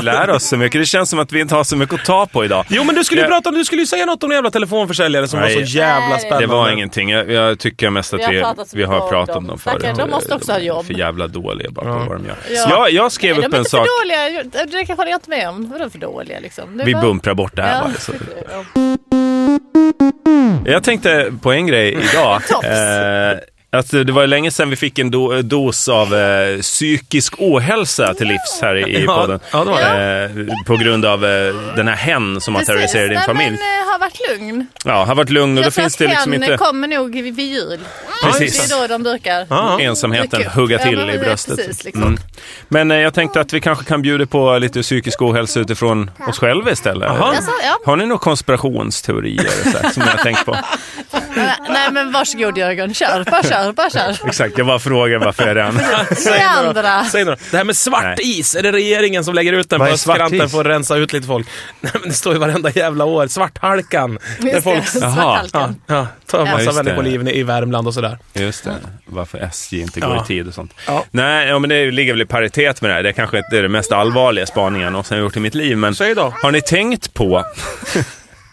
Speaker 3: Lär oss så mycket. Det känns som att vi inte har så mycket att ta på idag.
Speaker 1: Jo men du skulle ju
Speaker 3: Ja.
Speaker 1: prata om, du skulle ju säga något om den jävla telefonförsäljaren som var
Speaker 3: Nej.
Speaker 1: så jävla
Speaker 4: Nej.
Speaker 1: spännande.
Speaker 3: Det var ingenting. Jag, jag tycker mest att
Speaker 4: Vi har
Speaker 3: vi,
Speaker 4: pratat så
Speaker 3: vi har
Speaker 4: mycket
Speaker 3: pratat
Speaker 4: om
Speaker 3: om dem
Speaker 4: dem.
Speaker 3: förut.
Speaker 4: Tackar, de måste också ha
Speaker 3: är
Speaker 4: jobb.
Speaker 3: för jävla dåliga bara på
Speaker 1: Ja.
Speaker 3: vad de gör.
Speaker 4: Ja.
Speaker 3: Jag, jag skrev
Speaker 4: Nej,
Speaker 3: upp
Speaker 4: de är
Speaker 3: en
Speaker 4: inte
Speaker 3: sak.
Speaker 4: för dåliga. Det kanske håller jag inte med om. Vadå för dåliga liksom? Det är
Speaker 3: Vi
Speaker 4: bara-
Speaker 3: bumprar bort det här
Speaker 4: Ja,
Speaker 3: bara. Så.
Speaker 4: tycker jag.
Speaker 3: Jag tänkte på en grej idag.
Speaker 4: Tops.
Speaker 3: eh, att det var länge sedan vi fick en do, dos av eh, psykisk ohälsa till livs här i, i
Speaker 1: Ja,
Speaker 3: podden.
Speaker 1: ja, det var
Speaker 3: Eh, på grund av eh, den här hen som har
Speaker 4: Precis.
Speaker 3: terroriserat din
Speaker 4: Nej,
Speaker 3: familj.
Speaker 4: Men, eh, har varit lugn.
Speaker 3: Ja, har varit lugn och då
Speaker 4: Jag tror
Speaker 3: finns
Speaker 4: att
Speaker 3: det
Speaker 4: hen
Speaker 3: liksom inte...
Speaker 4: kommer nog vid vid jul.
Speaker 3: Precis.
Speaker 4: Det är då de brukar.
Speaker 1: Ja.
Speaker 3: ensamheten
Speaker 4: Mycket.
Speaker 3: hugga till
Speaker 4: Ja, men
Speaker 3: i bröstet.
Speaker 4: Precis, liksom.
Speaker 3: Men eh, jag tänkte att vi kanske kan bjuda på lite psykisk ohälsa utifrån oss själva istället.
Speaker 1: Jaha.
Speaker 4: Alltså, ja.
Speaker 3: Har ni några konspirationsteorier så här, som jag har tänkt på?
Speaker 4: Nej men varsågod Jörgen, kör, bara kör, bara kör.
Speaker 3: Exakt, jag bara frågar varför jag redan...
Speaker 4: Det
Speaker 1: några-
Speaker 4: andra.
Speaker 1: Säg några. Det här med svart
Speaker 3: Nej.
Speaker 1: is, är det regeringen som lägger ut den på
Speaker 3: Vad är svart
Speaker 1: östkanten
Speaker 3: is?
Speaker 1: för att rensa ut lite folk? Nej, men det står ju varenda jävla år. Svarthalkan. Där
Speaker 4: Just
Speaker 1: folk
Speaker 4: det, svarthalkan.
Speaker 1: ja, ja, tar massa
Speaker 3: just det.
Speaker 1: människoliv i Värmland och sådär.
Speaker 3: Just det, varför SJ inte går
Speaker 1: Ja.
Speaker 3: i tid och sånt.
Speaker 1: Ja.
Speaker 3: Nej, ja, men det ligger väl i paritet med det här. Det kanske inte är det mest allvarliga spaningen jag någonsin har gjort i mitt liv. Men
Speaker 1: Säg då.
Speaker 3: har ni tänkt på...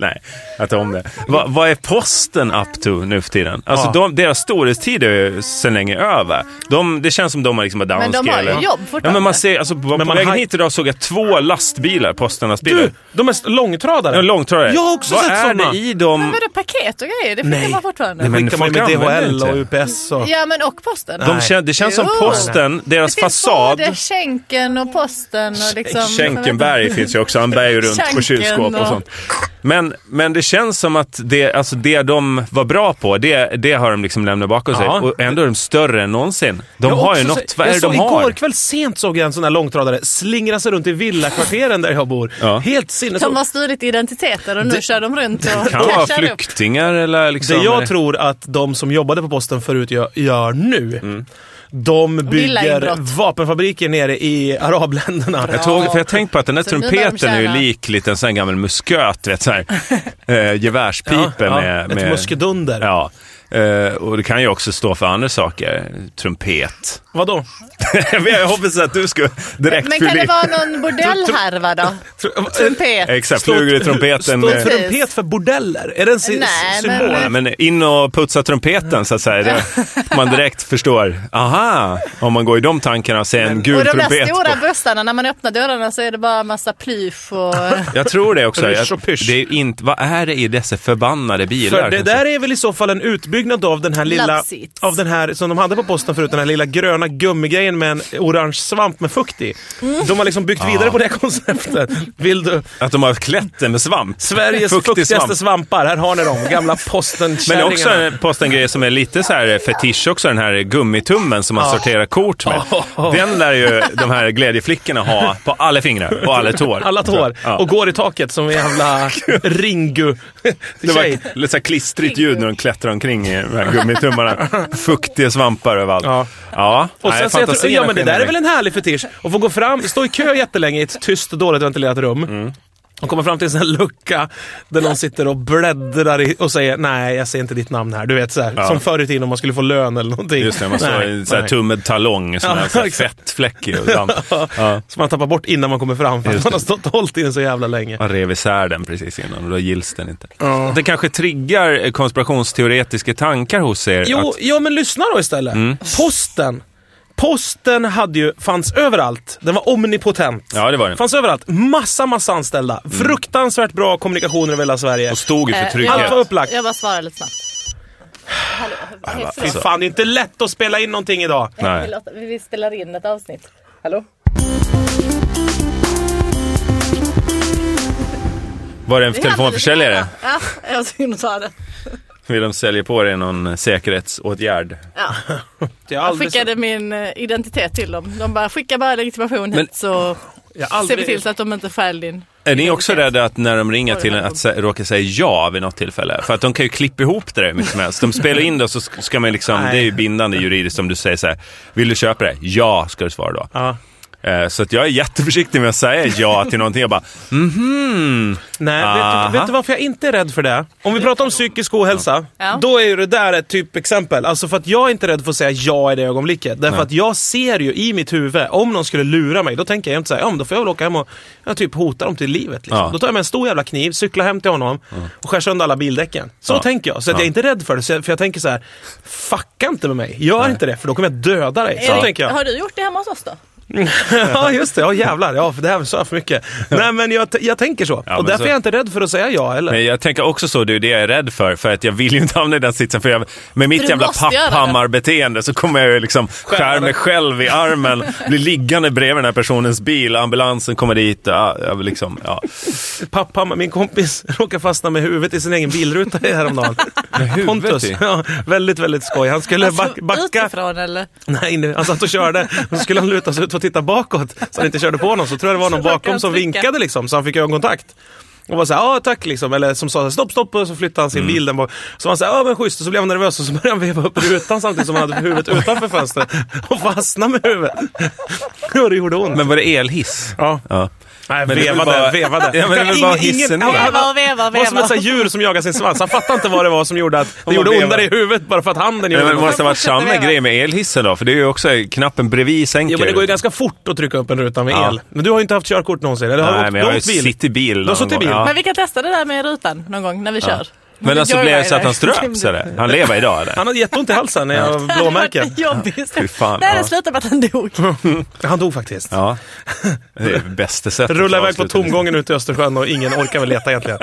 Speaker 3: Nej, jag tar om det. Va, vad är posten up to nu för tiden? Alltså
Speaker 1: Ja.
Speaker 3: de, deras storhetstid är ju sedan länge över. De, det känns som de har liksom bara
Speaker 4: Men de
Speaker 3: downscale.
Speaker 4: har ju jobb
Speaker 3: Ja, men
Speaker 4: fortfarande.
Speaker 3: man ser, alltså, på,
Speaker 1: Men
Speaker 3: på
Speaker 1: man
Speaker 3: vägen
Speaker 1: har-
Speaker 3: hit idag såg jag två lastbilar, postenlastbilar.
Speaker 1: Du, de är långtradare.
Speaker 3: Ja, långtradare.
Speaker 1: Jag har också
Speaker 3: Vad
Speaker 1: sett
Speaker 3: är
Speaker 1: sådana.
Speaker 3: det i dem?
Speaker 4: Men vadå paket och grejer? Det skickar
Speaker 1: Nej.
Speaker 4: man fortfarande.
Speaker 3: Nej, men
Speaker 1: Skickar man
Speaker 3: folk
Speaker 1: med
Speaker 3: använder
Speaker 1: DHL
Speaker 3: inte.
Speaker 1: och UPS och...
Speaker 4: Ja men och posten.
Speaker 3: De
Speaker 1: Nej.
Speaker 3: kän, det känns som
Speaker 4: Jo.
Speaker 3: posten, deras
Speaker 4: det
Speaker 3: fasad...
Speaker 4: finns både skänken och posten och liksom...
Speaker 3: Äh, Schenkenberg finns ju också. Han bär ju runt på
Speaker 4: Schenken
Speaker 3: kylskåp och
Speaker 4: och-
Speaker 3: sånt. Men, men det känns som att det, alltså det de var bra på, det, det har de liksom lämnat bakom sig.
Speaker 1: Ja.
Speaker 3: Och ändå är de större än någonsin. De
Speaker 1: Jag
Speaker 3: har ju
Speaker 1: också
Speaker 3: något.
Speaker 1: sett-
Speaker 3: Vad är det
Speaker 1: jag såg
Speaker 3: de har?
Speaker 1: Igår kväll sent såg jag en sån här långtradare slingra sig runt i villakvarteren där jag bor.
Speaker 3: Ja.
Speaker 1: Helt sinnes.
Speaker 4: De har stulit identiteter och nu kör de runt och
Speaker 3: Kan vara
Speaker 4: cashar upp.
Speaker 3: flyktingar eller
Speaker 1: Det
Speaker 3: liksom...
Speaker 1: jag tror att de som jobbade på posten förut gör, gör nu,
Speaker 3: Mm.
Speaker 1: de bygger
Speaker 4: Villainbrott.
Speaker 1: vapenfabriker nere i arabländerna.
Speaker 3: Jag, tog, för jag tänkte på att den där
Speaker 4: Så nu när de
Speaker 3: trumpeten är ju
Speaker 4: tjänar-
Speaker 3: lik lite en sån här gammal musköt, vet så här. Eh, gevärspipa
Speaker 1: Ja, ja,
Speaker 3: med...
Speaker 1: Ett
Speaker 3: med
Speaker 1: muskedunder.
Speaker 3: ja. Eh, och det kan ju också stå för andra saker. Trumpet.
Speaker 1: Vadå?
Speaker 3: jag hoppas att du skulle direkt
Speaker 4: Men kan
Speaker 3: fylla
Speaker 4: det
Speaker 3: i-
Speaker 4: vara någon bordellhärva då? Trumpet?
Speaker 3: Exakt,
Speaker 1: Stå-
Speaker 3: flugor i trumpeten.
Speaker 1: Står
Speaker 3: eh,
Speaker 1: trumpet för bordeller? Är det en si-
Speaker 4: Nej,
Speaker 1: symbol?
Speaker 4: men-
Speaker 3: Ja, men in och putsa trumpeten så att säga. Det, man direkt förstår. Aha, om man går i de tankarna och ser en
Speaker 4: Och
Speaker 3: gul
Speaker 4: de där
Speaker 3: trumpet.
Speaker 4: stora
Speaker 3: På.
Speaker 4: bussarna, när man öppnar dörrarna så är det bara massa plysch och...
Speaker 3: Jag tror det också.
Speaker 1: Rysch
Speaker 3: Jag,
Speaker 1: och pysch.
Speaker 3: det är inte, vad är det i dessa förbannade bilar?
Speaker 1: För det
Speaker 3: kanske?
Speaker 1: där är väl i så fall en utbyggnad av den här lilla,
Speaker 4: Love seats.
Speaker 1: av den här som de hade på posten förut, den här lilla gröna gummigrejen med en orange svamp med fukt i.
Speaker 4: Mm.
Speaker 1: De har liksom byggt
Speaker 3: Ah.
Speaker 1: vidare på det här konceptet. Vill du?
Speaker 3: Att de har klätt den med svamp.
Speaker 1: Sveriges
Speaker 3: Fuktig
Speaker 1: fuktigaste
Speaker 3: svamp.
Speaker 1: svampar, här har ni dem. Gamla posten
Speaker 3: Men det är också en postengrej som är lite så här fetisch också, den här gummitummen som man
Speaker 1: Ah.
Speaker 3: sorterar kort med. Den lär ju de här glädjeflickorna ha på alla fingrar och alla tår.
Speaker 1: Alla tår.
Speaker 3: Ja.
Speaker 1: Och går i taket som en jävla Ringu.
Speaker 3: Det var
Speaker 1: Tjej.
Speaker 3: ett lite så här klistrigt ljud när de klättrar omkring i de här gummitummarna. Fuktiga svampar överallt.
Speaker 1: Ja.
Speaker 3: Ja. ja.
Speaker 1: Och
Speaker 3: Nej,
Speaker 1: sen så jag tror,
Speaker 3: fantasin
Speaker 1: ja men det
Speaker 3: skiner
Speaker 1: där är väl
Speaker 3: iväg.
Speaker 1: en härlig fetisch. Att få gå fram, stå i kö jättelänge i ett tyst och dåligt ventilerat rum.
Speaker 3: Mm.
Speaker 1: Och komma fram till en sån här lucka där någon sitter och bläddrar i, och säger nej, jag ser inte ditt namn här. Du vet så här,
Speaker 3: Ja.
Speaker 1: som förr i tiden om man skulle få lön eller någonting.
Speaker 3: Just det, man står i en sån här
Speaker 1: nej.
Speaker 3: tummed talong, sån
Speaker 1: Ja,
Speaker 3: här, så här
Speaker 1: exakt.
Speaker 3: fettfläckig. och damm. Ja.
Speaker 1: Som man tappar bort innan man kommer fram för att
Speaker 3: Just
Speaker 1: man har stått och hållit i den så jävla länge.
Speaker 3: Man rev isär den precis innan och då gills den inte. Det kanske triggar eh, konspirationsteoretiska tankar hos er.
Speaker 1: Jo,
Speaker 3: att,
Speaker 1: ja, men lyssna då istället.
Speaker 3: Mm.
Speaker 1: Posten. Posten hade ju, fanns överallt. Den var omnipotent.
Speaker 3: ja, det var det.
Speaker 1: Fanns överallt. Massa, massa anställda. Fruktansvärt bra kommunikationer över hela Sverige.
Speaker 3: Och stod ju för
Speaker 4: Eh,
Speaker 1: Allt var
Speaker 3: trygghet. Ah,
Speaker 1: upplagt.
Speaker 4: Jag bara svarar lite snabbt. Hallå, vad heter det?
Speaker 1: Fy fan, det är inte lätt att spela in någonting idag.
Speaker 3: Nej.
Speaker 4: Förlåt, Vi spelar in ett avsnitt. Hallå?
Speaker 3: Var det en telefonförsäljare?
Speaker 4: Ja, jag var tvungen att ta det.
Speaker 3: Vill de sälja på dig någon säkerhetsåtgärd?
Speaker 4: Ja.
Speaker 1: Jag
Speaker 4: Jag skickade min eh, identitet till dem. De bara skicka bara legitimation
Speaker 3: Men-
Speaker 4: hit så
Speaker 1: jag
Speaker 4: ser vi till så att de inte stjäl din.
Speaker 3: Är ni också rädda att när de ringer
Speaker 4: Oj,
Speaker 3: till en
Speaker 4: vad
Speaker 3: att sä- råka säga ja vid något tillfälle? För att de kan ju klippa ihop det där hur mycket som helst. De spelar in det och så sk- ska man liksom,
Speaker 1: Nej.
Speaker 3: det är ju bindande juridiskt om du säger så här, vill du köpa det? Ja, ska du svara då.
Speaker 1: Ja.
Speaker 3: Eh, Så att jag är jätteförsiktig med att säga ja till någonting. Jag bara,
Speaker 1: Nej, vet
Speaker 3: Aha.
Speaker 1: du, vet du varför jag inte är rädd för det? Om vi pratar om psykisk ohälsa,
Speaker 4: Ja.
Speaker 1: då är ju det där ett typexempel. Alltså för att jag är inte rädd för att säga ja i det ögonblicket. Därför att jag ser ju i mitt huvud, om någon skulle lura mig, då tänker jag inte säga ja men då får jag väl åka hem och ja, typ hota dem till livet. Liksom.
Speaker 3: Ja.
Speaker 1: Då tar jag med en stor jävla kniv, cyklar hem till honom och skär sönder alla bildäcken. Så
Speaker 3: Ja.
Speaker 1: tänker jag. Så att jag är inte rädd för det. Så jag, för jag tänker så här, fucka inte med mig. Gör inte det, för då kommer jag döda dig. Så
Speaker 4: Erik,
Speaker 1: tänker jag.
Speaker 4: Har du gjort det hemma hos oss då?
Speaker 1: Ja, just det. Ja, jävlar. Ja, för det här sa jag för mycket. Nej, men jag, t- jag tänker så.
Speaker 3: Ja,
Speaker 1: och
Speaker 3: men
Speaker 1: därför
Speaker 3: så-
Speaker 1: är jag inte rädd för att säga ja heller.
Speaker 3: men jag tänker också så, det är det jag är rädd för. För att jag vill ju inte hamna i den sitsen. För jag, med mitt
Speaker 4: du
Speaker 3: jävla
Speaker 4: måste göra det.
Speaker 3: papphammarbeteende så kommer jag ju liksom skära mig själv i armen, bli liggande bredvid den här personens bil, ambulansen kommer dit. Ja, jag vill liksom, ja.
Speaker 1: Pappa, min kompis, råkade fastna med huvudet i sin egen bilruta häromdagen. Pontus.
Speaker 3: i?
Speaker 1: Ja, väldigt, väldigt skoj. Han skulle back, backa.
Speaker 4: Alltså, Utifrån eller?
Speaker 1: Nej, nu, han satt och körde. Och så skulle han luta sig ut och titta bakåt så han inte körde på någon. Så tror jag det var någon
Speaker 4: råkade
Speaker 1: bakom
Speaker 4: han
Speaker 1: som
Speaker 4: trycka.
Speaker 1: vinkade liksom, så han fick ögonkontakt. Och var såhär, ja tack liksom. Eller som sa stopp, stopp. Och så flyttade han sin
Speaker 3: Mm.
Speaker 1: bil. Den var, så var han såhär, ja men schysst. Och så blev han nervös och så började han veva upp rutan samtidigt som han hade huvudet utanför fönstret. Och fastnade med huvudet. Och det gjorde ont.
Speaker 3: Men var det elhiss?
Speaker 1: ja.
Speaker 3: Ja.
Speaker 1: Nej,
Speaker 3: Men det är väl
Speaker 1: vevade,
Speaker 3: bara-
Speaker 1: vevade.
Speaker 3: Ja, men det är väl bara
Speaker 1: Ingen- ingen-
Speaker 3: hissen ner.
Speaker 1: han- han-
Speaker 4: Veva och veva och
Speaker 1: var som
Speaker 4: veva.
Speaker 1: ett så här djur som jagar sin svans. Han fattade inte vad det var som gjorde att det
Speaker 3: man
Speaker 1: gjorde ondare
Speaker 3: vevar.
Speaker 1: i huvudet bara för att handen
Speaker 3: Nej,
Speaker 1: gjorde
Speaker 3: men det
Speaker 1: något.
Speaker 3: måste ha varit
Speaker 4: Fortsätter
Speaker 3: samma
Speaker 4: leva.
Speaker 3: grej med elhissen då, för det är ju också knappen bredvid sänker.
Speaker 1: Jo, men det går ju ganska fort att trycka upp en ruta med
Speaker 3: Ja.
Speaker 1: el. Men du har ju inte haft körkort någonsin, eller har du
Speaker 3: Nej,
Speaker 1: åkt- du
Speaker 3: men jag har ju
Speaker 1: åkt bil?
Speaker 3: suttit i bil.
Speaker 1: Du har suttit i bil.
Speaker 4: Men vi kan testa det där med rutan någon gång när vi kör.
Speaker 3: Men alltså blev det så att han ströps
Speaker 4: ströps
Speaker 3: eller? Han lever idag eller?
Speaker 1: Han hade jätteont i halsen när jag
Speaker 4: Det hade varit
Speaker 1: blåmärken.
Speaker 4: en jobbig
Speaker 3: Fy
Speaker 4: historia.
Speaker 3: fan,
Speaker 4: Nej,
Speaker 3: ja.
Speaker 4: det slutade med att han dog.
Speaker 1: Han dog faktiskt.
Speaker 3: Ja. Det är bästa sättet.
Speaker 1: Rulla
Speaker 3: att
Speaker 1: iväg på
Speaker 3: avsluta.
Speaker 1: tomgången ute i Östersjön och ingen orkar väl leta egentligen.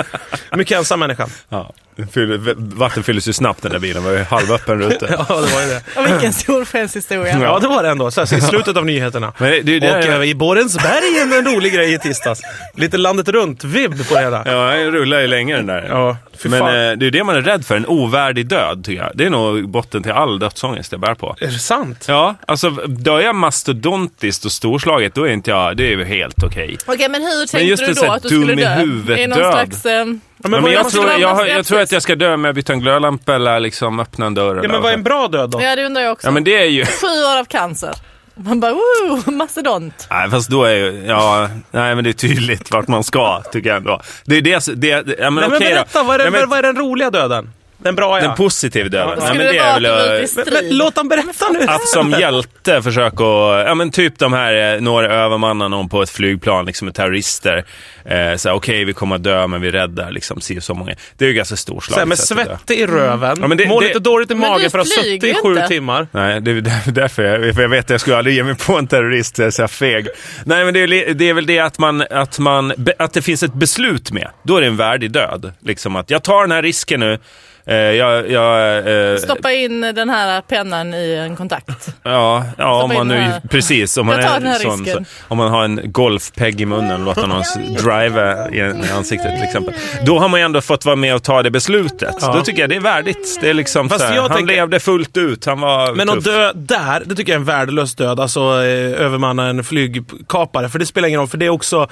Speaker 1: Mycket ensam människa.
Speaker 3: Ja. Den fyller- v- Vatten fylldes ju snabbt den där bilen, det var ju halvöppen ruta.
Speaker 1: Ja, det var ju det.
Speaker 4: Och vilken solskenshistoria.
Speaker 1: Ja, det var det ändå. Så här, så I slutet av nyheterna.
Speaker 3: Men det- det är det-
Speaker 1: och eh, i Borensberg en rolig grej i tisdags. Lite landet runt-vibb på det hela.
Speaker 3: Ja, den rullar ju länge den där.
Speaker 1: Ja, fy
Speaker 3: men eh,
Speaker 1: fan.
Speaker 3: det är ju det man är rädd för, en ovärdig död tycker jag. Det är nog botten till all dödsångest jag bär på.
Speaker 1: Är det sant?
Speaker 3: Ja, alltså dör jag mastodontiskt och storslaget, då är inte jag, det är ju helt okej.
Speaker 4: Okej, men hur tänkte
Speaker 3: just
Speaker 4: du
Speaker 3: en
Speaker 4: då
Speaker 3: sån här
Speaker 4: att du skulle
Speaker 3: dum i
Speaker 4: dö?
Speaker 3: huvudet
Speaker 4: är någon
Speaker 3: död.
Speaker 4: slags... ehm,
Speaker 1: Ja,
Speaker 3: Men,
Speaker 1: vad är-
Speaker 3: jag,
Speaker 4: vad
Speaker 3: tror,
Speaker 4: ska man
Speaker 3: jag, har-
Speaker 4: säga
Speaker 3: jag tror att
Speaker 4: precis?
Speaker 3: jag ska dö med att byta en glödlampa eller liksom öppna en dörr.
Speaker 1: Ja,
Speaker 3: eller
Speaker 1: men vad är en bra död då?
Speaker 4: Ja, det undrar jag också.
Speaker 3: Ja, men det är ju...
Speaker 4: Sju år av cancer. Man bara woo, mastodont.
Speaker 3: Nej, fast då är ju... Ja, nej, men det är tydligt vart man ska, tycker jag ändå. Det är det... det ja, men
Speaker 1: Nej, men
Speaker 3: okej då.
Speaker 1: berätta, vad är, den,
Speaker 3: Nej, men-
Speaker 1: vad är den roliga döden? Den bra ja.
Speaker 3: Den positiva döden.
Speaker 1: Ja,
Speaker 3: Nej,
Speaker 4: skulle
Speaker 3: men det
Speaker 4: det vara
Speaker 3: är väl
Speaker 4: att de
Speaker 3: att,
Speaker 4: utvisar-
Speaker 1: men, men, låt dem berätta nu!
Speaker 3: att som hjälte försöka att, ja men typ de här, eh, några övermannar någon på ett flygplan, liksom med terrorister. Eh, så här, Okej, vi kommer att dö, men vi räddar liksom si och så många. Det är ju ganska
Speaker 1: Så här,
Speaker 3: storslaget.
Speaker 1: med
Speaker 3: sätt att dö.
Speaker 1: svett i röven,
Speaker 3: Ja, men det-
Speaker 1: mår
Speaker 3: det-
Speaker 1: lite dåligt i
Speaker 4: Men
Speaker 1: magen
Speaker 4: du
Speaker 1: för att ha suttit
Speaker 4: flyger
Speaker 1: i
Speaker 4: ju
Speaker 1: sju
Speaker 4: inte.
Speaker 1: timmar.
Speaker 3: Nej, det är där- därför jag, för jag vet att jag skulle aldrig ge mig på en terrorist, jag är så här feg. Nej, men det är, li- det är väl det att, man, att, man, be- att det finns ett beslut med. Då är det en värdig död. Liksom att jag tar den här risken nu. Eh, jag, jag, eh,
Speaker 4: Stoppa in den här pennan i en kontakt.
Speaker 3: ja, ja om
Speaker 4: in
Speaker 3: man
Speaker 4: den
Speaker 3: nu,
Speaker 4: här.
Speaker 3: precis. Om man,
Speaker 4: Jag tar den
Speaker 3: är
Speaker 4: här
Speaker 3: sån, så,
Speaker 4: risken.
Speaker 3: om man har en golfpeg i munnen och låter någon s- driva i, i ansiktet till exempel. Då har man ju ändå fått vara med och ta det beslutet. Då tycker jag det är värdigt. Det är liksom
Speaker 1: Fast
Speaker 3: så här,
Speaker 1: jag
Speaker 3: han
Speaker 1: tänker-
Speaker 3: levde fullt ut. Han var
Speaker 1: Men
Speaker 3: tuff.
Speaker 1: att dö där, det tycker jag är en värdelös död. Alltså eh, övermanna en flygkapare. För det spelar ingen roll, för det är också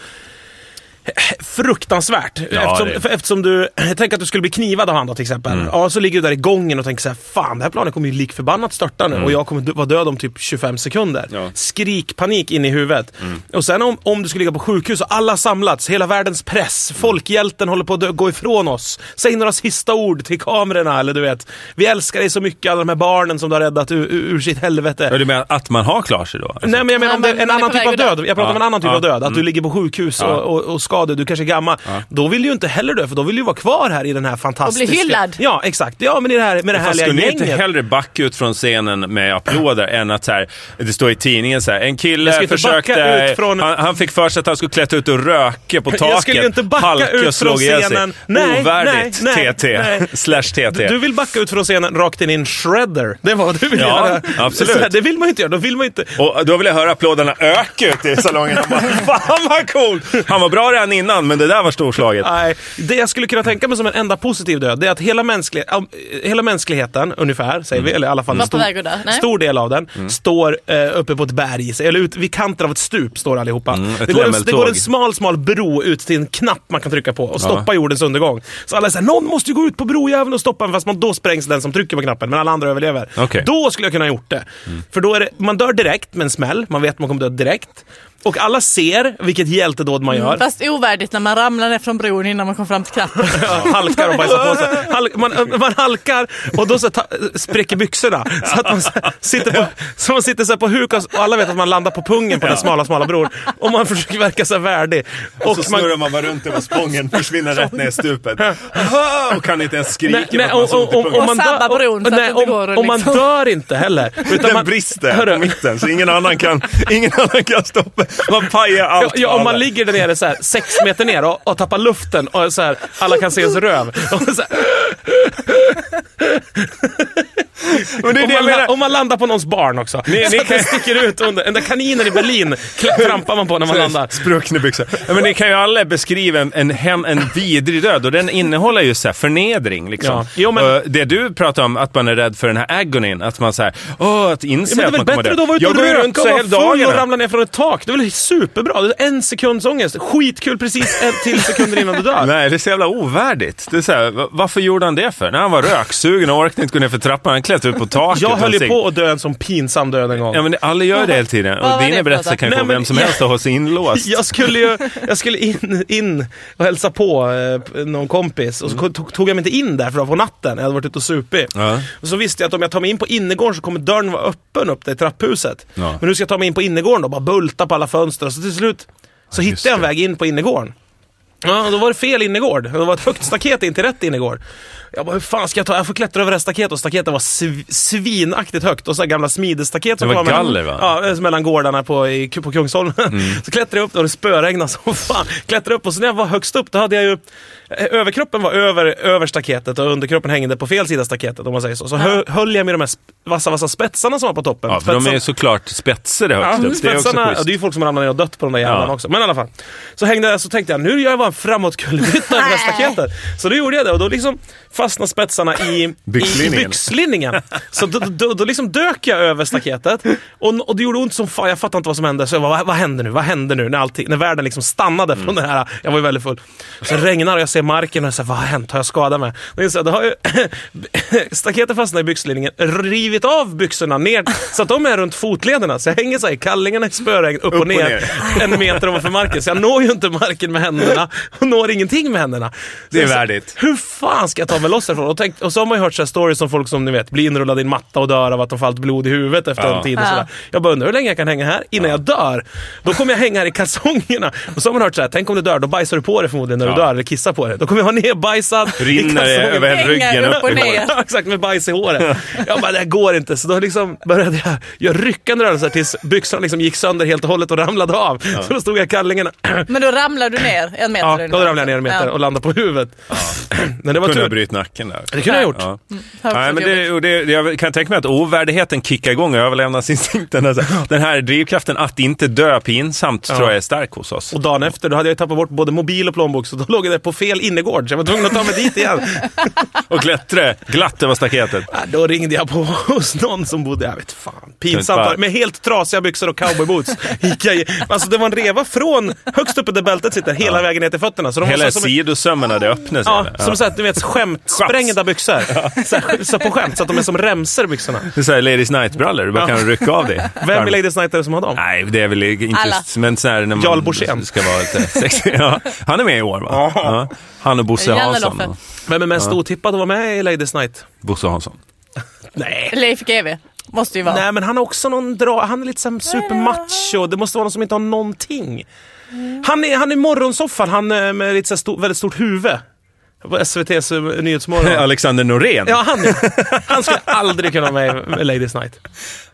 Speaker 1: fruktansvärt. eftersom,
Speaker 3: det Mm. är-
Speaker 1: för, eftersom du, tänk att du skulle bli knivad av han då till exempel. Ja, så ligger du där i gången och tänker så här, fan det här planet kommer ju lik förbannat störta nu och jag kommer dö- vara död om typ 25 sekunder.
Speaker 3: Mm. Ja.
Speaker 1: Skrikpanik in i huvudet. Och sen om, om du skulle ligga på sjukhus och alla samlats, hela världens press, folkhjälten håller på att dö, gå ifrån oss. Säg några sista ord till kamerorna eller du vet, vi älskar dig så mycket, alla de här barnen som du har räddat ur, ur sitt helvete.
Speaker 3: Ja, Du menar att man har klart sig då? Alltså.
Speaker 1: Nej men jag menar om det
Speaker 4: Nej,
Speaker 1: är
Speaker 4: men
Speaker 1: en
Speaker 4: man är
Speaker 1: annan
Speaker 4: på
Speaker 1: typ av
Speaker 4: väg att
Speaker 1: död. Jag pratar om en
Speaker 3: Ja.
Speaker 1: annan typ
Speaker 3: Ja. Mm.
Speaker 1: av död. Att du ligger på sjukhus
Speaker 3: Ja.
Speaker 1: och, och, och skadad, du kanske är gammal. Då vill du ju inte heller dö, för då vill du vara kvar här i den här fantastiska...
Speaker 4: hyllad.
Speaker 1: Ja, exakt. Ja, men i det här, med det
Speaker 3: Fast
Speaker 1: härliga
Speaker 3: skulle ni
Speaker 1: gänget.
Speaker 3: inte hellre backa ut från scenen med applåder än att så här, det står i tidningen så här, en
Speaker 1: Jag ska
Speaker 3: kille
Speaker 1: inte backa
Speaker 3: försökte,
Speaker 1: ut från-
Speaker 3: han, han fick för sig att han skulle klättra ut och röka på taket,
Speaker 1: Jag skulle ju inte backa
Speaker 3: halka
Speaker 1: ut
Speaker 3: och slog
Speaker 1: från
Speaker 3: ihjäl sig.
Speaker 1: scenen. Nej,
Speaker 3: Ovärdigt
Speaker 1: nej, nej,
Speaker 3: TT,
Speaker 1: nej.
Speaker 3: slash TT.
Speaker 1: Du vill backa ut från scenen rakt in i en shredder. Det var vad du vill
Speaker 3: Ja,
Speaker 1: göra.
Speaker 3: absolut.
Speaker 1: Så här, det vill man ju inte göra. Då vill man ju inte...
Speaker 3: Och då vill jag höra applåderna öka ute i salongen. Han bara, Fan vad coolt! Han var bra redan innan, men det där var storslaget.
Speaker 1: Nej, det jag skulle kunna tänka mig som en enda positiv död, det är att hela, mänsklig, äh, hela mänskligheten, ungefär, säger vi, eller i alla fall en
Speaker 4: Mm. Var på
Speaker 1: stor,
Speaker 4: väg att dö. Nej. Mm.
Speaker 1: stor del av den, står eh, uppe på ett berg, eller ut, vid kanten av ett stup står allihopa.
Speaker 4: Mm,
Speaker 3: ett
Speaker 1: det, går en, det
Speaker 3: lämmeltåg.
Speaker 1: går en smal, smal bro ut till en knapp man kan trycka på och stoppa jordens undergång. Så alla säger någon måste ju gå ut på brojäveln och stoppa den, fast man, då sprängs den som trycker på knappen, men alla andra överlever.
Speaker 3: Okej.
Speaker 1: Då skulle jag kunna ha gjort det.
Speaker 4: Mm.
Speaker 1: För då är det, man dör direkt med en smäll, man vet man kommer dö direkt. Och alla ser vilket hjältedåd man gör.
Speaker 4: Fast ovärdigt när man ramlar ner från bron innan man kom fram till knappen.
Speaker 1: halkar och bajsar på sig. Halk, man, man halkar och då så ta, spräcker byxorna. Så att man så här sitter på, så man sitter så här på huk och och alla vet att man landar på pungen på den smala, smala bron. Och man försöker verka så här värdig. Och
Speaker 3: Så
Speaker 1: man,
Speaker 3: snurrar man bara runt över spången, försvinner rätt ner i stupet. Och kan inte ens skrika
Speaker 1: Nej,
Speaker 3: för
Speaker 1: nej,
Speaker 3: att man har så ont i pungen.
Speaker 1: om man
Speaker 4: Och sabba
Speaker 1: dör-
Speaker 4: bron så att
Speaker 1: nej,
Speaker 4: det inte
Speaker 1: om-
Speaker 4: går att
Speaker 1: om man
Speaker 4: liksom-
Speaker 1: dör inte heller. Utan
Speaker 3: Den
Speaker 1: man-
Speaker 3: brister
Speaker 1: Hörru,
Speaker 3: på mitten, så ingen annan kan, ingen annan kan stoppa. Man pajar
Speaker 1: Ja,
Speaker 3: allt.
Speaker 1: ja,
Speaker 3: för
Speaker 1: om man
Speaker 3: alla.
Speaker 1: ligger där nere så här, sex meter ner och, och tappar luften och så här, alla kan se ens röv. Och så här,
Speaker 3: Men det är
Speaker 1: om,
Speaker 3: det
Speaker 1: man,
Speaker 3: jag
Speaker 1: la-
Speaker 3: menar.
Speaker 1: om man landar på någons barn också.
Speaker 3: Ni-
Speaker 1: så
Speaker 3: ni
Speaker 1: att den
Speaker 3: kan-
Speaker 1: sticker ut under. Den där kaninen i Berlin kla- trampar man på när man landar.
Speaker 3: Spruckna byxor. Ja, men ni kan ju alla beskriva en, en, hem, en vidrig död och den innehåller ju så här förnedring. Liksom.
Speaker 1: Ja. Jo, men-
Speaker 3: Och det du pratar om, att man är rädd för den här agonyn, att man säger åh, att
Speaker 1: Ja,
Speaker 3: inse
Speaker 1: men
Speaker 3: att
Speaker 1: det är
Speaker 3: man
Speaker 1: väl bättre
Speaker 3: kommer
Speaker 1: då att vara ute
Speaker 3: Jag
Speaker 1: och
Speaker 3: går ju
Speaker 1: röka
Speaker 3: runt
Speaker 1: och
Speaker 3: så
Speaker 1: vara
Speaker 3: hela
Speaker 1: full och
Speaker 3: dagarna.
Speaker 1: ramla ner från ett tak. Det är väl superbra? Det är en sekunds ångest. Skitkul precis en till sekunder innan du dör.
Speaker 3: Nej, det är så jävla ovärdigt. Det är så här, va- varför gjorde han det för? När han var röksugen och orkade inte gå ner för trappan, han klättrade upp på taket.
Speaker 1: Jag
Speaker 3: och
Speaker 1: höll ju
Speaker 3: sig-
Speaker 1: på att dö en sån pinsam död en gång.
Speaker 3: Ja, men alla gör det hela tiden.
Speaker 4: Vad
Speaker 3: Och
Speaker 4: var det
Speaker 3: dina
Speaker 4: för
Speaker 3: berättelser
Speaker 4: något?
Speaker 3: kan ju
Speaker 1: Nej,
Speaker 3: få
Speaker 1: men-
Speaker 3: vem som helst att ha sig inlåst.
Speaker 1: Jag skulle ju jag skulle in, in och hälsa på eh, någon kompis och så tog, tog jag mig inte in där för det var på natten. Jag hade varit ute och supit.
Speaker 3: Mm. Ja.
Speaker 1: Och så visste jag att om jag tar mig in på innergården så kommer dörren vara öppen upp där i trapphuset.
Speaker 3: Ja.
Speaker 1: Men nu ska jag ta mig in på innergården då, bara bulta på alla fönster. Så till slut så
Speaker 3: just
Speaker 1: hittade jag en
Speaker 3: det.
Speaker 1: väg in på innergården. Ja, och då var det fel innergård. Det var ett högt staket in till rätt innergård. Jag bara, hur fan ska jag ta? Jag får klättra över det här staketet och staketet var sv- svinaktigt högt. Och så här gamla smidestaket som
Speaker 3: Det var
Speaker 1: mellan-
Speaker 3: galler, va?
Speaker 1: Ja, Ja, eh, mellan gårdarna på, i, på Kungsholmen.
Speaker 3: Mm.
Speaker 1: Så klättrade jag upp och det spöregnade som fan. Klättrade upp och så när jag var högst upp då hade jag ju eh, Överkroppen var över, över staketet och underkroppen hängde på fel sida staketet om man säger så. Så hö, höll jag med de här sp- vassa, vassa spetsarna som var på toppen.
Speaker 3: Ja, för de är
Speaker 1: Spetsarna-
Speaker 3: ju såklart spetsade högst
Speaker 1: Ja,
Speaker 3: upp. Det är också
Speaker 1: spetsarna, ja,
Speaker 3: schysst.
Speaker 1: det är ju folk som ramlar ner och dött på de där jävlarna
Speaker 3: Ja.
Speaker 1: också. Men i alla fall. Så hängde jag, så tänkte jag nu gör jag bara en framåtkullerbytta över det här staketet. Så då gjorde jag det och då liksom fastnade spetsarna i, i- i
Speaker 3: Byxlinningen.
Speaker 1: byxlinningen. Så då, då, då liksom dök jag över staketet och, och det gjorde ont som fan. Jag fattade inte vad som hände. Så jag bara, vad, vad händer nu? Vad händer nu? När, allting, när världen liksom stannade från det här. Jag var ju väldigt full. Så regnar och jag ser marken och jag säger, vad har hänt? Har jag skadat mig? Då inser jag, då har ju staketet fastnat i byxlinningen, rivit av byxorna ner så att de är runt fotlederna. Så jag hänger så här i kallingarna i spöregn upp, och ner,
Speaker 3: ner.
Speaker 1: en meter ovanför marken. Så jag når ju inte marken med händerna. och når ingenting med händerna.
Speaker 3: Det är
Speaker 1: Så-
Speaker 3: värdigt.
Speaker 1: Hur fan ska jag ta mig loss härifrån? Och, tänk, och så har man ju hört så här stories om folk som ni vet blir inrullade i en matta och dör av att de får allt blod i huvudet efter
Speaker 3: Ja.
Speaker 1: en tid. Och
Speaker 4: Ja.
Speaker 1: sådär. Jag bara undrar hur länge jag kan hänga här innan jag dör. Då kommer jag hänga här i kalsongerna. Och så har man hört så här, tänk om du dör, då bajsar du på dig förmodligen när
Speaker 3: Ja.
Speaker 1: du dör eller kissar på dig. Då kommer jag vara nerbajsad i
Speaker 3: Rinner
Speaker 1: kalsongerna.
Speaker 3: över hela
Speaker 4: Pengar
Speaker 3: ryggen
Speaker 4: upp och
Speaker 3: upp i
Speaker 4: ner.
Speaker 3: håret.
Speaker 1: Ja, exakt, med bajs i håret. Jag bara, det här går inte. Så då liksom började jag göra ryckande rörelser tills byxorna liksom gick sönder helt och hållet och ramlade av. Så då stod jag i kallingarna.
Speaker 4: Men då ramlar du ner en meter
Speaker 1: Ja, då
Speaker 4: ungefär.
Speaker 1: ramlade jag ner en meter
Speaker 4: Ja.
Speaker 1: och landade på huvudet. Men det var
Speaker 3: Kunde ha
Speaker 1: tur.
Speaker 3: brutit nacken där.
Speaker 1: Det Mm. kunde jag ha gjort.
Speaker 3: Ja.
Speaker 4: Har också
Speaker 3: Nej, men
Speaker 4: jobbigt.
Speaker 3: det, och det, jag kan tänka mig att ovärdigheten kickar igång och överlevnadsinstinkten. Alltså. Den här drivkraften att inte dö pinsamt tror jag är stark hos oss.
Speaker 1: Och dagen efter, då hade jag tappat bort både mobil och plånbok, så då låg jag där på fel innergård. Så jag var tvungen att ta mig dit igen.
Speaker 3: Och klättra glatt över staketet.
Speaker 1: Ja, Då ringde jag på hos någon som bodde, jag vet fan, pinsamt
Speaker 3: Tänk
Speaker 1: var
Speaker 3: bara-
Speaker 1: det. Med helt trasiga byxor och cowboyboots gick jag i. Alltså det var en reva från högst uppe där bältet sitter, hela vägen ner till fötterna. Så de var så
Speaker 3: Hela
Speaker 1: här som en-
Speaker 3: sidosömmarna, det öppnas.
Speaker 1: Ja,
Speaker 3: eller?
Speaker 1: som så att du vet skämtsprängda byxor. Så, här, så på skämt, så att de är som remsor byxorna.
Speaker 3: Det är såhär Ladies Night-brallor, du bara kan rycka av dig.
Speaker 1: Vem i Ladies Night är det som har dem?
Speaker 3: Nej, det är väl inte
Speaker 4: Alla.
Speaker 3: just... Men så här när man
Speaker 1: Jarl Borssén.
Speaker 3: ska vara lite sexig. Ja, han är med i år va?
Speaker 1: Ja.
Speaker 3: Ja. Han och Bosse
Speaker 4: Janne
Speaker 3: Hansson.
Speaker 4: Loffe.
Speaker 1: Vem är mest otippad att vara med i Ladies Night?
Speaker 3: Bosse Hansson.
Speaker 1: Nej.
Speaker 4: Leif GW måste ju vara.
Speaker 1: Nej, men han har också någon dra... Han är lite som supermacho. Det måste vara någon som inte har någonting. Han är, han är morgonsoffan, han eh, med lite så här stor, väldigt stort huvud. På SVT's eh, Nyhetsmorgon.
Speaker 3: Alexander Norén.
Speaker 1: Ja, han Han skulle aldrig kunna vara med i Ladies Night.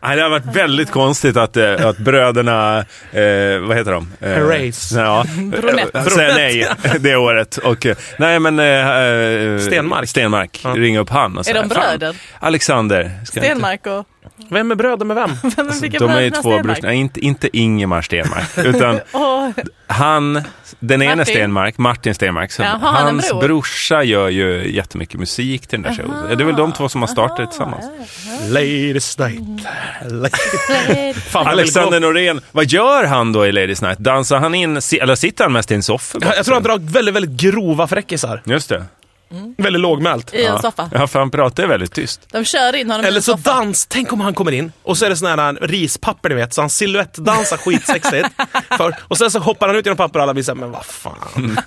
Speaker 3: Nej, det har varit väldigt konstigt att, eh, att bröderna, eh, vad heter de? Eh,
Speaker 1: Herreys.
Speaker 3: Ja, Eh,
Speaker 4: Bronett.
Speaker 3: säger nej det året. Och, eh, nej, men... eh, Eh,
Speaker 1: Stenmark.
Speaker 3: Stenmark.
Speaker 1: Ja.
Speaker 3: Ringa upp han och
Speaker 4: Är
Speaker 3: säga,
Speaker 4: de
Speaker 3: "Fan,
Speaker 4: bröder?"
Speaker 3: Alexander. ska jag inte- Alltså,
Speaker 4: Stenmark och...
Speaker 1: Vem är bröder med vem?
Speaker 4: Vem fick
Speaker 3: De är ju
Speaker 4: bröderna
Speaker 3: två
Speaker 4: Stenmark?
Speaker 3: bröder. Nej, inte, inte Ingemar Stenmark. Utan
Speaker 4: Och,
Speaker 3: han, den ene
Speaker 4: Martin.
Speaker 3: Stenmark, Martin Stenmark, som,
Speaker 4: Ja, har han en
Speaker 3: hans
Speaker 4: bror?
Speaker 3: brorsa gör ju jättemycket musik till den där showen. Det är väl de två som har startat tillsammans.
Speaker 1: Ladies Night. Fan, vad
Speaker 3: Alexander Norén, vad gör han då i Ladies Night? Dansar han in, si- eller sitter han mest i en soffa?
Speaker 1: Ja, Jag tror han drar väldigt, väldigt grova fräckisar.
Speaker 3: Just det.
Speaker 1: Väldigt lågmält.
Speaker 4: I en soffa.
Speaker 3: Ja, för han pratar ju väldigt tyst.
Speaker 4: De kör in honom i
Speaker 1: Eller
Speaker 4: en
Speaker 1: så
Speaker 4: soffa.
Speaker 1: dans, tänk om han kommer in och så är det sån här äh, rispapper ni vet, så han siluettdansar skitsexigt. För, och sen så hoppar han ut genom papper och alla blir såhär, men vad fan.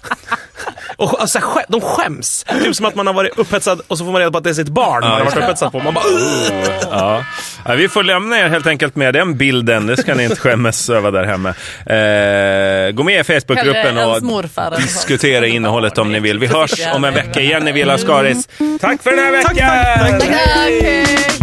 Speaker 1: Och alltså, skä- de skäms. Typ som att man har varit upphetsad och så får man reda på att det är sitt barn man har
Speaker 3: just
Speaker 1: varit
Speaker 3: det.
Speaker 1: upphetsad på. Man bara, "Ugh!"
Speaker 3: Ja. Ja, vi får lämna er helt enkelt med den bilden. Det ska ni inte skämmas över där hemma. Eh, gå med i Facebookgruppen
Speaker 4: Hellre ens
Speaker 3: och
Speaker 4: morfar. eller något.
Speaker 3: diskutera innehållet om ni vill. Vi hörs om en vecka igen, Neville Ascaris. Tack för den här veckan!
Speaker 1: tack, tack, tack.
Speaker 4: Tack, hej.